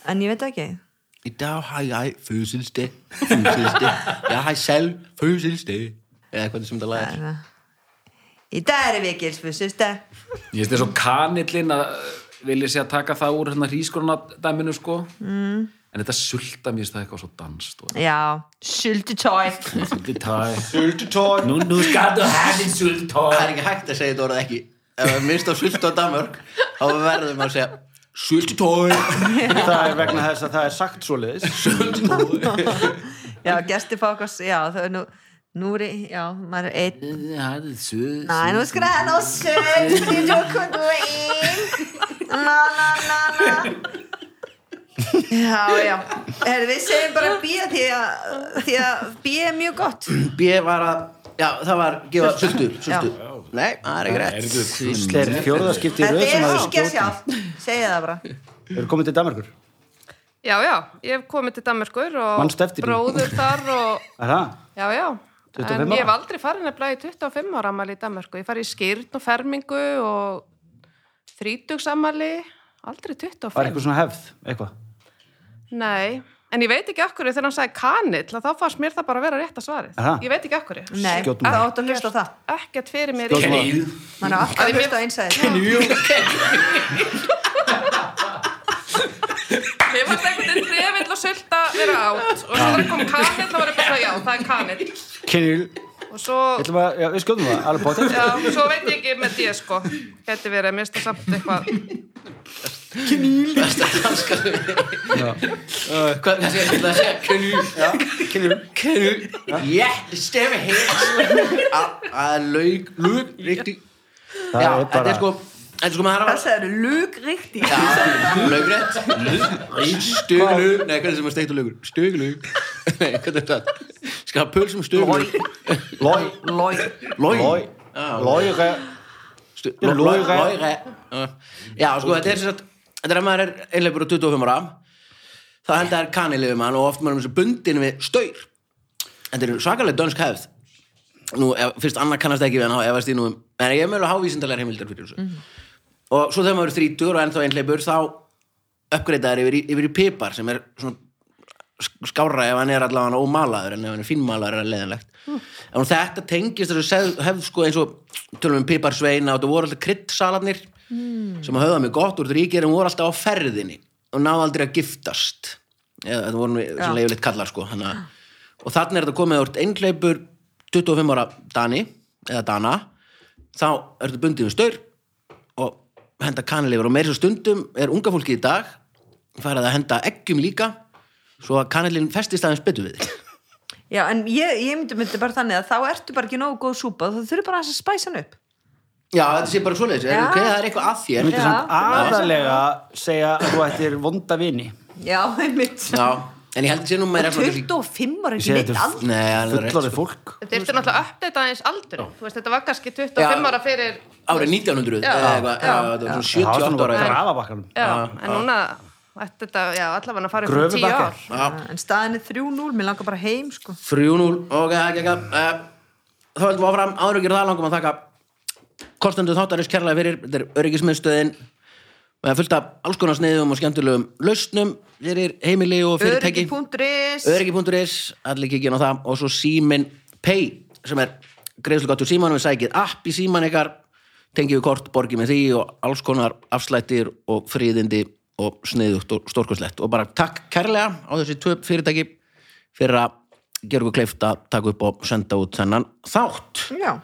Speaker 3: en ég veit ekki
Speaker 1: I dag har jeg fødselsdag, fødselsdag. Jeg har selv fødselsdag. Eða hvernig sem það lag er.
Speaker 3: í dag er við ekki, við sýst það
Speaker 2: Ég veist þessu kanillin að vilja sé að taka það úr hérna hrískornadæminu, sko. Mm. En þetta sulta mér finnst það eitthvað svo sko. danst. Og...
Speaker 3: já, sulti tói
Speaker 2: Sultitæ.
Speaker 4: Sultutók
Speaker 2: Nú, nú skal þú
Speaker 1: Það
Speaker 2: hefðin
Speaker 1: er
Speaker 2: sultitæ.
Speaker 1: ekki hægt að segja þetta orðið ekki. Ef við minnst á sult á Danmörk, þá verðum við að segja sultitói,
Speaker 4: Það er vegna þess að það er sagt svoleiðis
Speaker 1: sultitói.
Speaker 3: já, gestir fá okkar, já, það er nú nú er, ég- já, maður er einn Nei, nú skur hann á sönd Ég tók hún þú inn Na, na, na, na Já, já Herri, við segjum bara B því að, því að B er mjög gott
Speaker 1: B var að, já, það var gefa sultu, sultu. Nei, það er ekki rétt.
Speaker 4: Þetta er fjórðaskipti í
Speaker 3: Þetta
Speaker 4: röð sem að
Speaker 3: er hengja
Speaker 4: skjóta
Speaker 3: sjálf Segja það bara
Speaker 4: Þeir eru komið til Danmarkur
Speaker 5: Já, já, ég hef komið til Danmarkur og
Speaker 4: Manstu eftir því?
Speaker 5: bróður þar og
Speaker 4: Er það?
Speaker 5: já, já,
Speaker 4: 25
Speaker 5: en ég hef
Speaker 4: ára?
Speaker 5: aldrei farið nefnilega í 25 ára ammæli í Danmarku, ég farið í skýrn og fermingu og þrítugsamali aldrei 25
Speaker 4: Var eitthvað svona hefð, eitthvað?
Speaker 5: Nei, en ég veit ekki akkur þegar hann sagði kanill, að þá fannst mér það bara að vera rétta svarið.
Speaker 4: Aha.
Speaker 5: Ég veit ekki akkur.
Speaker 3: Nei,
Speaker 4: Skjótum
Speaker 3: það
Speaker 4: það.
Speaker 3: átt að hlusta á það
Speaker 5: Ekkert fyrir mér
Speaker 4: Skjótum
Speaker 5: í...
Speaker 4: það.
Speaker 2: Keið.
Speaker 3: Man er alltaf
Speaker 5: Að
Speaker 3: að
Speaker 5: mér-
Speaker 3: hlusta á einsæðið
Speaker 5: Mér fannst einhvern veginn trefill og sulta vera átt og svo
Speaker 4: Ah.
Speaker 5: þegar kom kanill þá var ég bara svona, já, það er kanill.
Speaker 4: Kynil,
Speaker 5: Og svo,
Speaker 4: ætlum að, já, við skjóðum það, alveg
Speaker 1: *laughs*
Speaker 4: bótið.
Speaker 5: já, svo veit ég ekki með því, sko. Gæti verið að mista samt eitthvað.
Speaker 1: Uh, Hvað hvað skal ég ætla að segja? Kynjú.
Speaker 4: Kynil,
Speaker 1: Kynjú. Ég stefi heim. Að laug, laug, riktig. Já,
Speaker 4: það er
Speaker 1: þetta
Speaker 4: bara,
Speaker 1: er sko, þetta er sko maður að
Speaker 3: Það segir lugríkt í
Speaker 1: Já, laugrætt Stuglaug, nei, hvernig sem að steikta laugur Stuglaug, nei, hvernig er það Skal um hafa pulsum stuglaug
Speaker 4: lói,
Speaker 3: Lói
Speaker 1: Lói
Speaker 4: lói,
Speaker 1: Já,
Speaker 4: lói, hvað,
Speaker 1: stu-
Speaker 4: Lói-
Speaker 1: Lói-
Speaker 4: Lói-
Speaker 1: Lói- Já, Já, sko, þetta er sem sagt Þetta er að maður er einlega bara 25 ára Það held að það er kanilið um hann og oft maður er með svo bundin við staur Þetta er svakalega dönsk hefð Nú, ef, fyrst annar kannast ekki við hann þá efast ég nú um En ég er meðlega hávísindalega heimildar fyrir þessu Og svo þegar maður er 30 og ennþá einhleipur þá uppgreitaðar yfir, í- yfir í pipar sem er svona sk- skárra ef hann er allavega ómalaður en ef hann er fínmalaður er það leðinlegt en þetta tengist þessu sef- hefð sko eins og tölum um piparsveina og þetta voru alltaf kryddsalarnir sem að höfða mig gott úr ríkir en voru alltaf á ferðinni og náðu aldrei að giftast eða þetta voru nú svona leiðilegt kallar sko hana. og þannig er þetta komið að þú ert einhleipur 25 ára Dani eða Dana þá ertu bundið við staur og henda kanilifur og meir svo stundum er unga fólki í dag farið að henda eggjum líka svo að kanilin festist aðeins betur við þig.
Speaker 3: Já, en ég, ég myndi, myndi bara þannig að þá ertu bara ekki nógu góð súpa þú þurfi bara aðeins að spæsa hann upp
Speaker 1: Já, þetta sé bara svoleiðis, er,
Speaker 3: Já.
Speaker 1: ok, það er eitthvað að þér
Speaker 4: myndi samt aðalega segja að þú ættir vonda vini.
Speaker 3: Já, einmitt
Speaker 1: Já, en ég held sé nú meira svona kannski-
Speaker 3: 25 ára
Speaker 4: Ég
Speaker 3: ekki
Speaker 4: segi
Speaker 3: neitt
Speaker 4: þetta
Speaker 3: aldrei
Speaker 1: Nei, alveg rétt,
Speaker 4: Fullorðið
Speaker 1: sko.
Speaker 4: fólk.
Speaker 5: Þetta er náttúrulega að uppdata aðeins aldur. Þú veist, þetta var kannski 25
Speaker 1: Já.
Speaker 5: ára fyrir...
Speaker 1: árið 1900
Speaker 5: Já.
Speaker 1: eða eitthvað, já, þetta var
Speaker 4: Það
Speaker 5: Já.
Speaker 4: var
Speaker 1: svona 78
Speaker 4: svona
Speaker 1: ára
Speaker 4: bara
Speaker 1: já.
Speaker 4: grafabakkanum.
Speaker 5: Já, en núna ætti þetta, já, allavega að fara upp um 10
Speaker 4: Gröfubakkar.
Speaker 5: ár.
Speaker 1: Já.
Speaker 3: En staðin er 3-0, mér langar bara heim sko.
Speaker 1: 3-0, ok, ekki, ekki uh, þá heldum við áfram, áður ekki það langum að þakka kostendu þáttarins kærlega fyrir þetta er öryggismiðstöðin með fullt af alls konar sniðum og skemmtilegum lausnum fyrir heimili og fyrirtæki
Speaker 3: Öryggi.is
Speaker 1: öryggi.is, allir kikið á það og svo símin pay sem er greiðslugáttur símanum, við sækið app í síman ykkar, tengið við kort borgið með því og alls konar afslættir og fríðindi og sniðugt og stórkurslegt og bara takk kærlega á þessi tvö fyrirtæki fyrir að gera okkur kleift að taka upp og senda út þennan þátt,
Speaker 3: Já,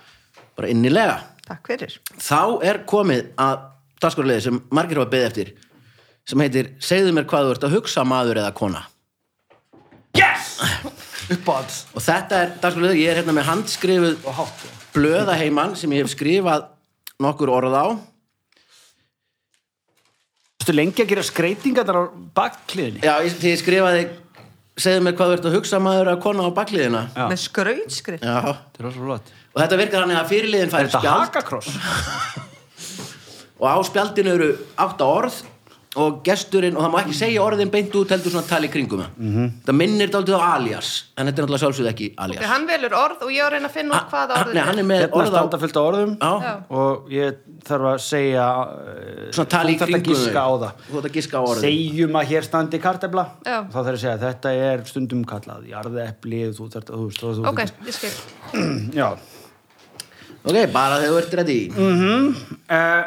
Speaker 1: bara innilega
Speaker 3: takk fyrir
Speaker 1: þá er komið að dagskorleiði sem margir hafa beðið eftir sem heitir, segðu mér hvað þú ert að hugsa maður eða kona
Speaker 4: Uppáhalds.
Speaker 1: og þetta er dagskorleiði, ég er hérna með handskrifuð
Speaker 4: Og hátt.
Speaker 1: blöðaheiman sem ég hef skrifað nokkur orð á
Speaker 4: Þú lengi að gera skreitingar þar á bakkliðinni.
Speaker 1: já, ég, því ég skrifaði segðu mér hvað þú ert að hugsa maður að kona á bakliðina
Speaker 4: Já.
Speaker 3: Með skrautskrift
Speaker 1: já,
Speaker 4: Þetta er rosalega flott.
Speaker 1: og þetta virkar þannig að fyrirliðin
Speaker 4: Er
Speaker 1: fær
Speaker 4: þetta
Speaker 1: spjald
Speaker 4: hakakross?
Speaker 1: og á spjaldinu eru átta orð og gesturinn, og það má ekki segja orðin beint út heldur svona tali kringum það mm
Speaker 4: Mhm.
Speaker 1: -hmm. það minnir dálítið á alias en þetta er náttúrulega sjálfsögð ekki alias
Speaker 5: Þegar hann velur orð og ég á að reyna að finna út hvað
Speaker 1: Hann-
Speaker 5: orðið
Speaker 1: Ah, nei, hann er með
Speaker 4: Hérna
Speaker 1: orð á
Speaker 4: standa fullt á orðum
Speaker 1: Já.
Speaker 4: og ég þarf að segja eh,
Speaker 1: svona tali í
Speaker 4: þú þarft
Speaker 1: kringum
Speaker 4: að giska á
Speaker 1: þau.
Speaker 4: það
Speaker 1: þú þarft að giska á orðið
Speaker 4: segjum að hér standi kartefla
Speaker 5: Já.
Speaker 4: þá þarf ég að segja að þetta er stundum kallað jarðepli þú þarft að þú veist og þú
Speaker 5: Ok, ég skil.
Speaker 4: já
Speaker 1: ok, bara þegar þú ert ready
Speaker 4: Mm. Eh,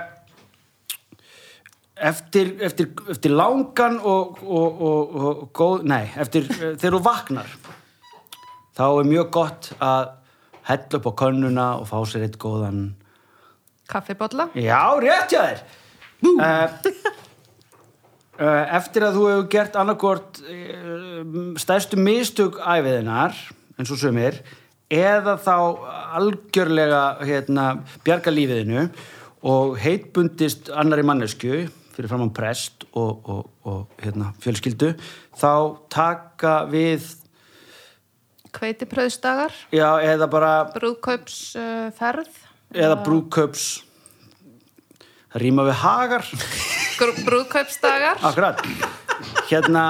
Speaker 4: eftir, eftir, eftir langan og, og, og, og góð nei, eftir eh, þegar þú vaknar þá er mjög gott að hella upp á könnuna og fá sér eitt góðan
Speaker 5: Kaffibotla.
Speaker 4: Já, rétt hjá þér uh, uh, Eftir að þú hefur gert annarkort uh, stærstu mistök æfiðinar eins og sumir eða þá algjörlega hérna, bjarga lífiðinu og heitbundist annari mannesku fyrir framann prest og, og, og hérna, fjölskyldu þá taka við
Speaker 5: Kveiti pröðstagar.
Speaker 4: já, eða bara
Speaker 5: Brúðkaupsferð.
Speaker 4: eða brúköps það rýma við hagar
Speaker 5: Brúðkaupsdagar.
Speaker 1: Ah.
Speaker 4: Akkurat Hérna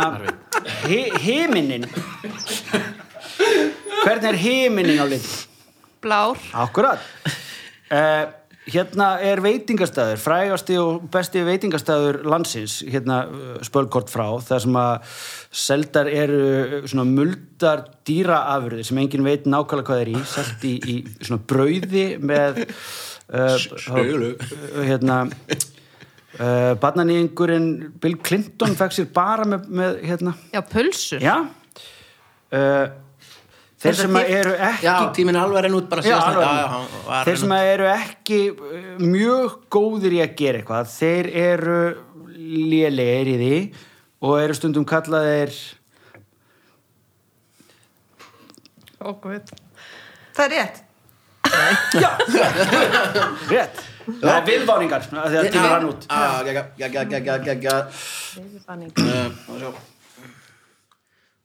Speaker 4: Himinin Hvernig er himinin á lit?
Speaker 5: Blár.
Speaker 4: Akkurat uh, Hérna er veitingastæður, frægasti og besti veitingastæður landsins, hérna uh, spölkort frá, þar sem að seldar eru uh, svona muldar dýraafurðir sem engin veit nákvæmlega hvað er í, selt í, í svona brauði með uh,
Speaker 1: Stölu.
Speaker 4: uh, hérna uh, barnaníðingurinn Bill Clinton fekk sér bara með, með hérna,
Speaker 5: Já, pulsur.
Speaker 4: já uh, þeir sem að eru ekki
Speaker 1: Já, tíminn er alveg að renna út bara
Speaker 4: Já,
Speaker 1: síðast
Speaker 4: alveg.
Speaker 1: já,
Speaker 4: þeir sem
Speaker 1: er...
Speaker 4: að eru ekki eh, mjög góðir í að gera eitthvað þeir eru lélegir í því og eru stundum kallaðir
Speaker 5: Ó, guð.
Speaker 3: Það er rétt.
Speaker 4: rétt, það er viðváningar af því að tíma rann út
Speaker 1: Já, já, já, já, já, já, já Eh,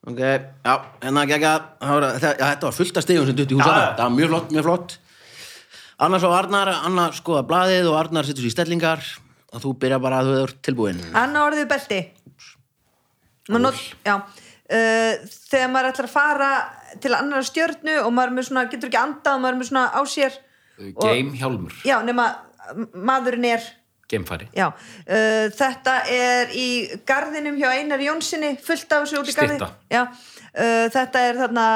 Speaker 1: Ok, já, hérna, já, já, það var- þetta- já, þetta var fullt af stegum sem dutt í hús
Speaker 4: Já,
Speaker 1: að
Speaker 4: já.
Speaker 1: það var mjög flott, mjög flott Annars á Arnar, Anna skoða blaðið og Arnar setur sér í stellingar og þú byrja bara að þú er tilbúin
Speaker 3: Anna orðið belti. Maður Not, já. Uh, þegar maður ætlar að fara til annar stjörnu og maður er með svona, getur ekki andað og maður er með svona á sér.
Speaker 2: Game Hjálmur,
Speaker 3: Já, nema m- maðurinn er,
Speaker 2: gamefæri
Speaker 3: já. Uh, þetta er í garðinum hjá Einar Jónssoni, fullt af þessu út í garði.
Speaker 2: Stytta.
Speaker 3: Já. Uh, þetta er þarna,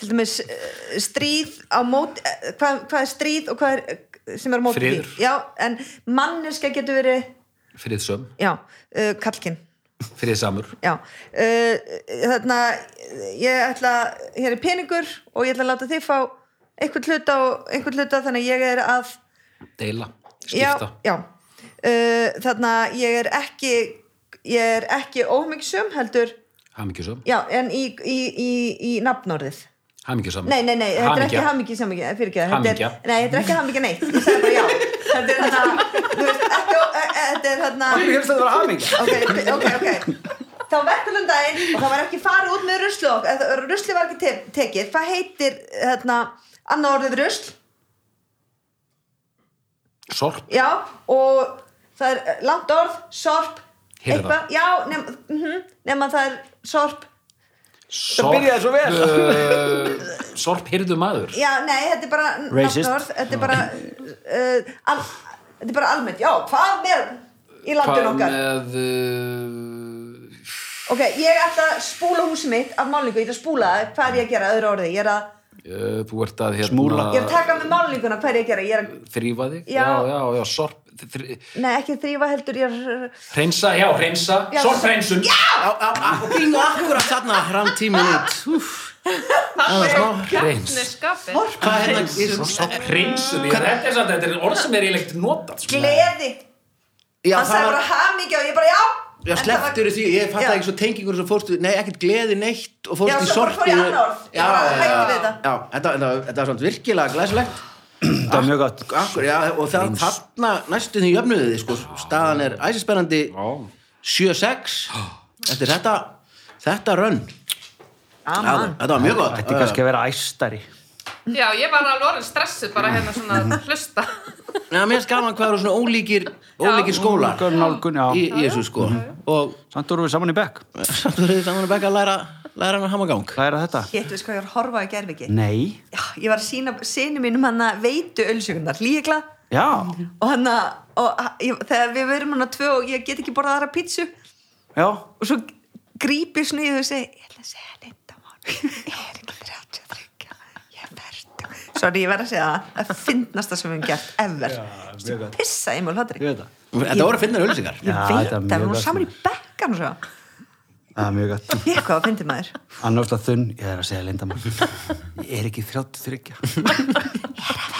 Speaker 3: til dæmis, eh, stríð á móti, eh, hvað, hvað er stríð og hvað er eh, sem er á móti því?
Speaker 2: Friður.
Speaker 3: Já, en manneska getur verið,
Speaker 2: friðsöm,
Speaker 3: já, uh, kallkinn.
Speaker 2: friðsamur
Speaker 3: Já, uh, þarna ég ætla, hér er peningur og ég ætla að láta þig fá einhvern hluta og einhvern hluta þannig að ég er að
Speaker 2: deila, skipta
Speaker 3: Já, já. Uh, þarna ég er ekki ég er ekki ómyggsum heldur,
Speaker 2: hamingjusöm,
Speaker 3: já, en í, í, í, í nafnorðið.
Speaker 2: hamingjusöm
Speaker 3: Nei, nei, nei, þetta er ekki hamingja samingja, fyrir ekki það þetta
Speaker 2: Hamingja.
Speaker 3: er- Nei, þetta er ekki hamingja neitt, ég sagði bara já Þetta er þarna, þú veist, ekki, e- e- þetta er þarna
Speaker 4: Ég hugsa að það var hamingja.
Speaker 3: ok, ok, ok þá verður um daginn og það var ekki farið út með ruslu ruslu var ekki te tekið hvað heitir hérna annað orðið rusl
Speaker 2: sorp,
Speaker 3: já og það er eh, langt orð sorp
Speaker 2: Hirða.
Speaker 3: eitthvað já nema mm nema það er sorp
Speaker 4: það
Speaker 2: sorp
Speaker 4: byrjaði svo vel
Speaker 2: uh, sorp hyrðu
Speaker 3: *laughs*
Speaker 2: maður
Speaker 3: já nei þetta er bara n-
Speaker 4: Racist.
Speaker 3: nafnorð þetta er bara uh, al, þetta er bara almennt já hvað með í landin
Speaker 2: hvað
Speaker 3: okkar
Speaker 2: með uh,
Speaker 3: ok ég ætla að spúla húsið mitt af málingu ég ætla að spúla það hvað er ég að gera öðru orði ég er að
Speaker 2: uh, þú ert að hérna,
Speaker 4: Smúla.
Speaker 3: ég
Speaker 1: Ah.
Speaker 3: er að taka með málinguna hvað er ég að gera ég er að
Speaker 2: þrýfa þig
Speaker 3: Já.
Speaker 2: já, já, já sorp þr,
Speaker 3: Nei, ekki þrýfa heldur, ég er...
Speaker 2: hreinsa, já, hreinsa,
Speaker 3: Já,
Speaker 2: sorphreinsun
Speaker 1: Já, já, já, og bingo akkurat þarna hrann tíminn út Úff, það var smá
Speaker 2: Hreins.
Speaker 5: Kjarniskapið.
Speaker 1: Hvað er hérna?
Speaker 2: sorphreinsun, ég- þetta er samt- þetta er orð sem er eiginlegt notað sko.
Speaker 3: Gleði.
Speaker 1: Já,
Speaker 3: Hann sagði
Speaker 1: það
Speaker 3: bara
Speaker 1: var,
Speaker 3: hamingja og ég bara, já.
Speaker 1: já,
Speaker 3: En það var-
Speaker 1: slepptur því, ég fatt
Speaker 3: Já.
Speaker 1: ekki svo tengingur sem fórstu, nei, ekkert gleði neitt og fórstu
Speaker 3: Já,
Speaker 1: í
Speaker 3: svo bara
Speaker 1: sorpi.
Speaker 3: fór ég annað orð. Ég
Speaker 1: Já,
Speaker 3: bara
Speaker 1: já,
Speaker 3: hætti við
Speaker 1: já,
Speaker 3: þetta.
Speaker 1: já, þetta, þetta, þetta var svona virkilega glæsilegt.
Speaker 4: það var mjög gott
Speaker 1: Akkur, já, og það þarna næstu því jöfnuðu þið, sko, staðan er æsispennandi
Speaker 2: Já.
Speaker 1: 7-6 eftir þetta, þetta rönn.
Speaker 3: Aman.
Speaker 1: Þetta var mjög gott.
Speaker 4: Ah, Þetta er kannski að vera æstari
Speaker 5: Já, ég var alveg orðin stressuð bara hérna svona að hlusta.
Speaker 1: Já, mér er gaman hvað eru svona ólíkir, ólíkir skólar
Speaker 4: Gör nálgun,
Speaker 1: í,
Speaker 4: já
Speaker 1: í þessu, sko.
Speaker 3: Mhm.
Speaker 1: Og
Speaker 4: Samt vorum við saman í bekk
Speaker 1: samt verður þið saman að bekka að læra, læra hann að hamagang.
Speaker 4: Hvað er þetta?
Speaker 3: Hétt, veist hvað ég var að horfa á gerfingi?
Speaker 4: Nei
Speaker 3: Já, ég var að sína sinu mínum hann að veitu ölsjökunar, líkla.
Speaker 4: Já,
Speaker 3: Og hann að, og að- ég, þegar við verum hann að tvö og ég get ekki borðað aðra pítsu.
Speaker 4: já
Speaker 3: Og svo grípi sniðu og segi, ég ætla að segja neitt á hann. Ég er ekki 33, ég er verð. Sorry, ég verð að segja það. Það finnast það sem við höfum gert, ever.
Speaker 4: mjög gott.
Speaker 3: Pissa, ég mál
Speaker 4: Ég
Speaker 3: hátri.
Speaker 4: veit það
Speaker 1: Þetta voru að finna ölsingar.
Speaker 3: Ég
Speaker 4: Já,
Speaker 3: veit
Speaker 4: þetta er
Speaker 3: það,
Speaker 4: mjög
Speaker 3: við erum
Speaker 4: gott.
Speaker 3: saman í bekkan og svo.
Speaker 4: Það er mjög gott
Speaker 3: Ég hvað, fyndi maður.
Speaker 4: Annars það þunn, ég er að segja lindamál Ég er ekki 33 Ég *laughs* er að verða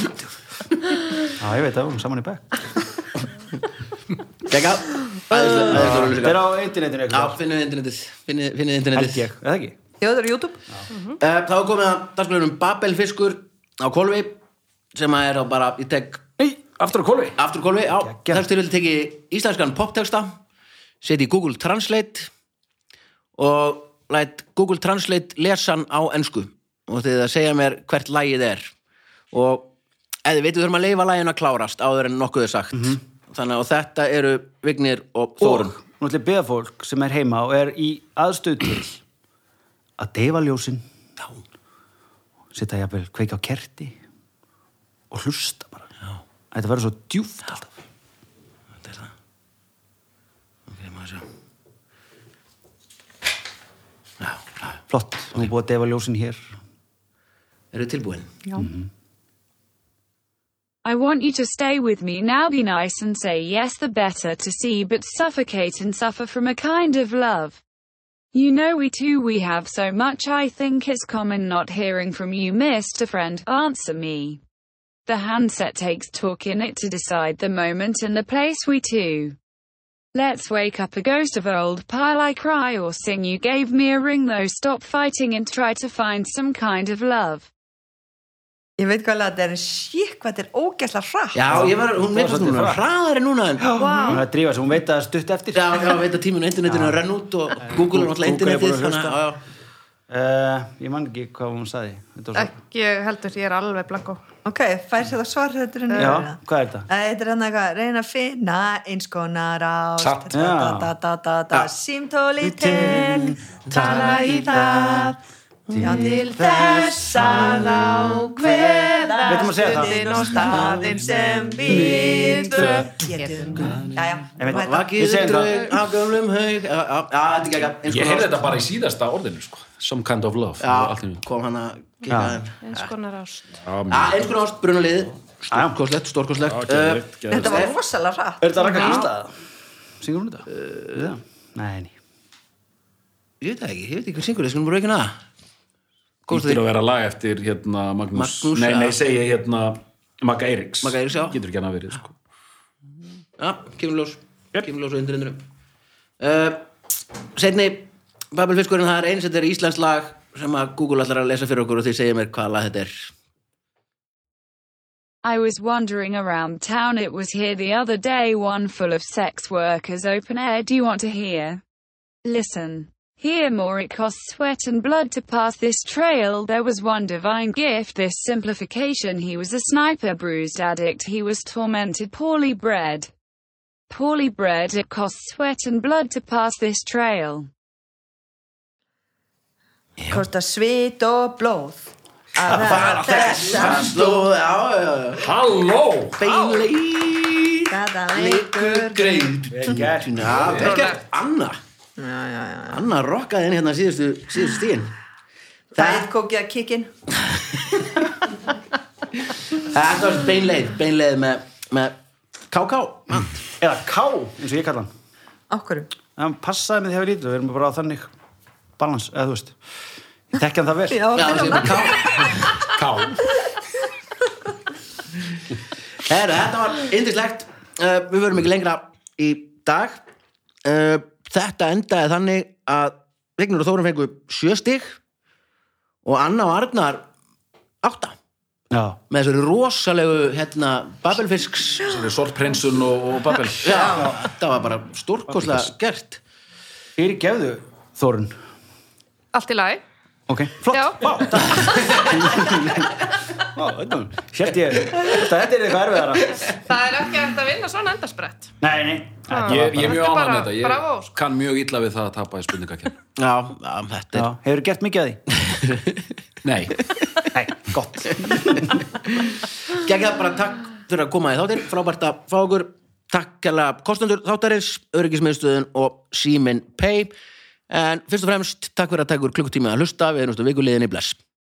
Speaker 4: ferdur Já, ég veit það, við erum saman í bekk
Speaker 1: Gekka. Æðislega
Speaker 4: Það
Speaker 1: ölsingar.
Speaker 4: Ah. er á internetinu
Speaker 1: Já,
Speaker 4: eitthvað
Speaker 1: finnið internetið Finnið, finnið
Speaker 4: Held
Speaker 1: internetið
Speaker 4: ég, eða ekki?
Speaker 3: Já, það eru YouTube.
Speaker 1: Eh, Þá er komið að dagsklunum Babelfiskur á Kolvi sem að er þá bara, ég tek
Speaker 4: Nei, aftur á kólfi
Speaker 1: aftur Kolvi, já,
Speaker 4: Geggjað.
Speaker 1: þess til vil teki íslenskan poptexta setja í Google Translate og læt Google Translate lesan á ensku og þið að segja mér hvert lagið er og eða við veitum þurfum að leifa laginu að klárast áður en nokkuð er sagt þannig að og þetta eru Vignir og Þórun
Speaker 4: Mhm. Og nú ætlum ég að beða fólk sem er heima og er í aðstöð til að deyfa ljósin
Speaker 1: Já.
Speaker 4: setja jafnvel kveika á kerti og hlusta bara Þetta verður svo djúft alltaf
Speaker 1: Þetta er það. Ok, maður sjá. Já, já.
Speaker 4: Flott, nú er búið að defa ljósin hér
Speaker 1: Eru tilbúin?
Speaker 5: Já.
Speaker 7: I want you to stay with me now. Be nice and say yes, the better to see, but suffocate and suffer from a kind of love. You know, we two, we have so much. I think it's common not hearing from you, Mr. Friend. Answer me. The handset takes talk in it to decide the moment and the place we two. Let's wake up a ghost of old pile. I cry or sing. You gave me a ring though. Stop fighting and try to find some kind of love.
Speaker 3: Ég veit hvað þetta er, en shit, hvað þetta er ógæsla hratt.
Speaker 1: Já, ég var, hún meðast
Speaker 4: svolítið
Speaker 1: núna,
Speaker 4: hratt.
Speaker 1: hraðar en núna en... Já,
Speaker 4: Hún er að drífa sig, hún veit að það er stutt eftir
Speaker 1: já, ég veit að tíminu internetinu er að renna út og Google er náttúrulega
Speaker 4: Google er búin
Speaker 1: internetið,
Speaker 4: að
Speaker 1: þannig
Speaker 4: hlusta.
Speaker 1: að, já, já.
Speaker 4: uh, Ég man ekki hvað hún saði Þetta var svo-
Speaker 5: Ekki heldur, ég er alveg blanko.
Speaker 3: Ok, fær sér það svar þetta er henni.
Speaker 4: Já, hvað er þetta?
Speaker 3: Þetta er hann eitthvað, reyna að finna eins konar ást.
Speaker 4: Satt.
Speaker 3: Da, da, da, da, da, da, símtóli til, tala í það, já, til þess að ákveða
Speaker 4: Veitum að segja það?
Speaker 3: stundin og staðin sem við tvö getum. Jæja,
Speaker 4: Einmitt.
Speaker 3: þú veit það.
Speaker 4: Ég
Speaker 1: Vakið
Speaker 4: segi
Speaker 1: draug af gömlum haug, já, já, já, þetta er ekki ekki, eins
Speaker 2: Ég
Speaker 1: konar
Speaker 2: heyrði
Speaker 1: ást.
Speaker 2: þetta bara í síðasta orðinu, sko. Some kind of love. Allt í
Speaker 1: Já,
Speaker 2: einu.
Speaker 1: kom hann að kika þeim.
Speaker 5: Eins konar ást.
Speaker 2: Já,
Speaker 1: Já,
Speaker 2: mjög.
Speaker 1: eins konar ást, brunaliði,
Speaker 4: Já.
Speaker 1: stórkoslegt, stórkoslegt.
Speaker 2: Já,
Speaker 1: Uh,
Speaker 2: geðveikt, geðveikt.
Speaker 3: Þetta var rosalega hratt.
Speaker 4: Er þetta rækka hlustaða? Syngur hún þetta? Uh, ja. Nei, nei
Speaker 1: Ég veit það ekki, ég veit ekki hvað syngur, þið skulum bara ekki naða. Góðstu
Speaker 2: Ítir
Speaker 1: því?
Speaker 2: að vera lag eftir hérna Magnús,
Speaker 1: Magnús,
Speaker 2: nei,
Speaker 1: ja.
Speaker 2: nei, segi ég hérna Magga Eiríks
Speaker 1: Magga Eiríks, já.
Speaker 2: Getur ekki hann að verið, sko
Speaker 1: Já, kemur ljós, kemur ljós og undir undirum. Uh, Setni, Babelfiskurinn, það er eins, þetta er Íslands lag sem að Google allar að lesa fyrir okkur og þið segja mér hvaða lag þetta er.
Speaker 7: I was wandering around town. It was here the other day, one full of sex workers, open air. Do you want to hear? Listen. Hear more. It costs sweat and blood to pass this trail. There was one divine gift, this simplification. He was a sniper, bruised addict. He was tormented, poorly bred. Poorly bred. It costs sweat and blood to pass this trail.
Speaker 3: Kosta svit og blóð. Að fara þess að
Speaker 1: Slóð, já, já, já.
Speaker 2: Halló!
Speaker 1: Beinleik
Speaker 3: Þetta leikur
Speaker 1: Greit
Speaker 4: Vel gert.
Speaker 1: Já, vel gert Anna
Speaker 3: Já, já, já.
Speaker 1: Anna rokkaði inn hérna síðustu, síðustu stíðin
Speaker 3: Það er kókið að kikkin.
Speaker 1: Þetta var beinleið Beinleið með, með KK Mann.
Speaker 4: Eða K, eins og ég kalla hann
Speaker 3: Okkur.
Speaker 4: Hann passaði með þegar við lítið Við erum bara á þannig balans, eða þú veist Ég tekja hann það vel
Speaker 3: Já,
Speaker 1: Já, það sé
Speaker 3: já.
Speaker 1: bara K
Speaker 2: Ká
Speaker 1: Heru, Þetta var indislegt uh, Við verum ekki lengra í dag uh, Þetta endaði þannig að Vignur og Þórum fengu sjö stig og Anna og Arnar átta
Speaker 4: Já,
Speaker 1: með þessari rosalegu hérna, Babelfisks
Speaker 2: Sortprinsun og, og Babel
Speaker 1: Já, þetta var bara stórkoslega gert
Speaker 4: fyrir gefðu Þórun
Speaker 5: Allt í lagi.
Speaker 4: Ok, flott
Speaker 5: Já.
Speaker 4: Vá, takk *laughs* Vá, þetta Hjælt ég Þetta þetta er eitthvað erfiðara
Speaker 5: Það er ekki hægt að vinna svona endasbrett.
Speaker 4: Nei, nei
Speaker 5: Já.
Speaker 2: Ég, ég er mjög
Speaker 5: Þetta er
Speaker 2: ánægð með
Speaker 5: bara-
Speaker 2: þetta Ég
Speaker 5: bravo, sko.
Speaker 2: kann mjög illa við það að tapa í spurningakefni
Speaker 1: Já, já þetta
Speaker 4: Já,
Speaker 1: er
Speaker 4: hefur gert mikið að því?
Speaker 2: Nei,
Speaker 4: Nei, gott
Speaker 1: Gækja bara takk fyrir að koma í þáttir Frábært að fá okkur Takk hérlega kostendur þáttarins Öryggismiðstöðun og Simin Pay En fyrst og fremst takk fyrir að taka okkur klukkutíma að hlusta Við erum stöðu vikuliðinni bless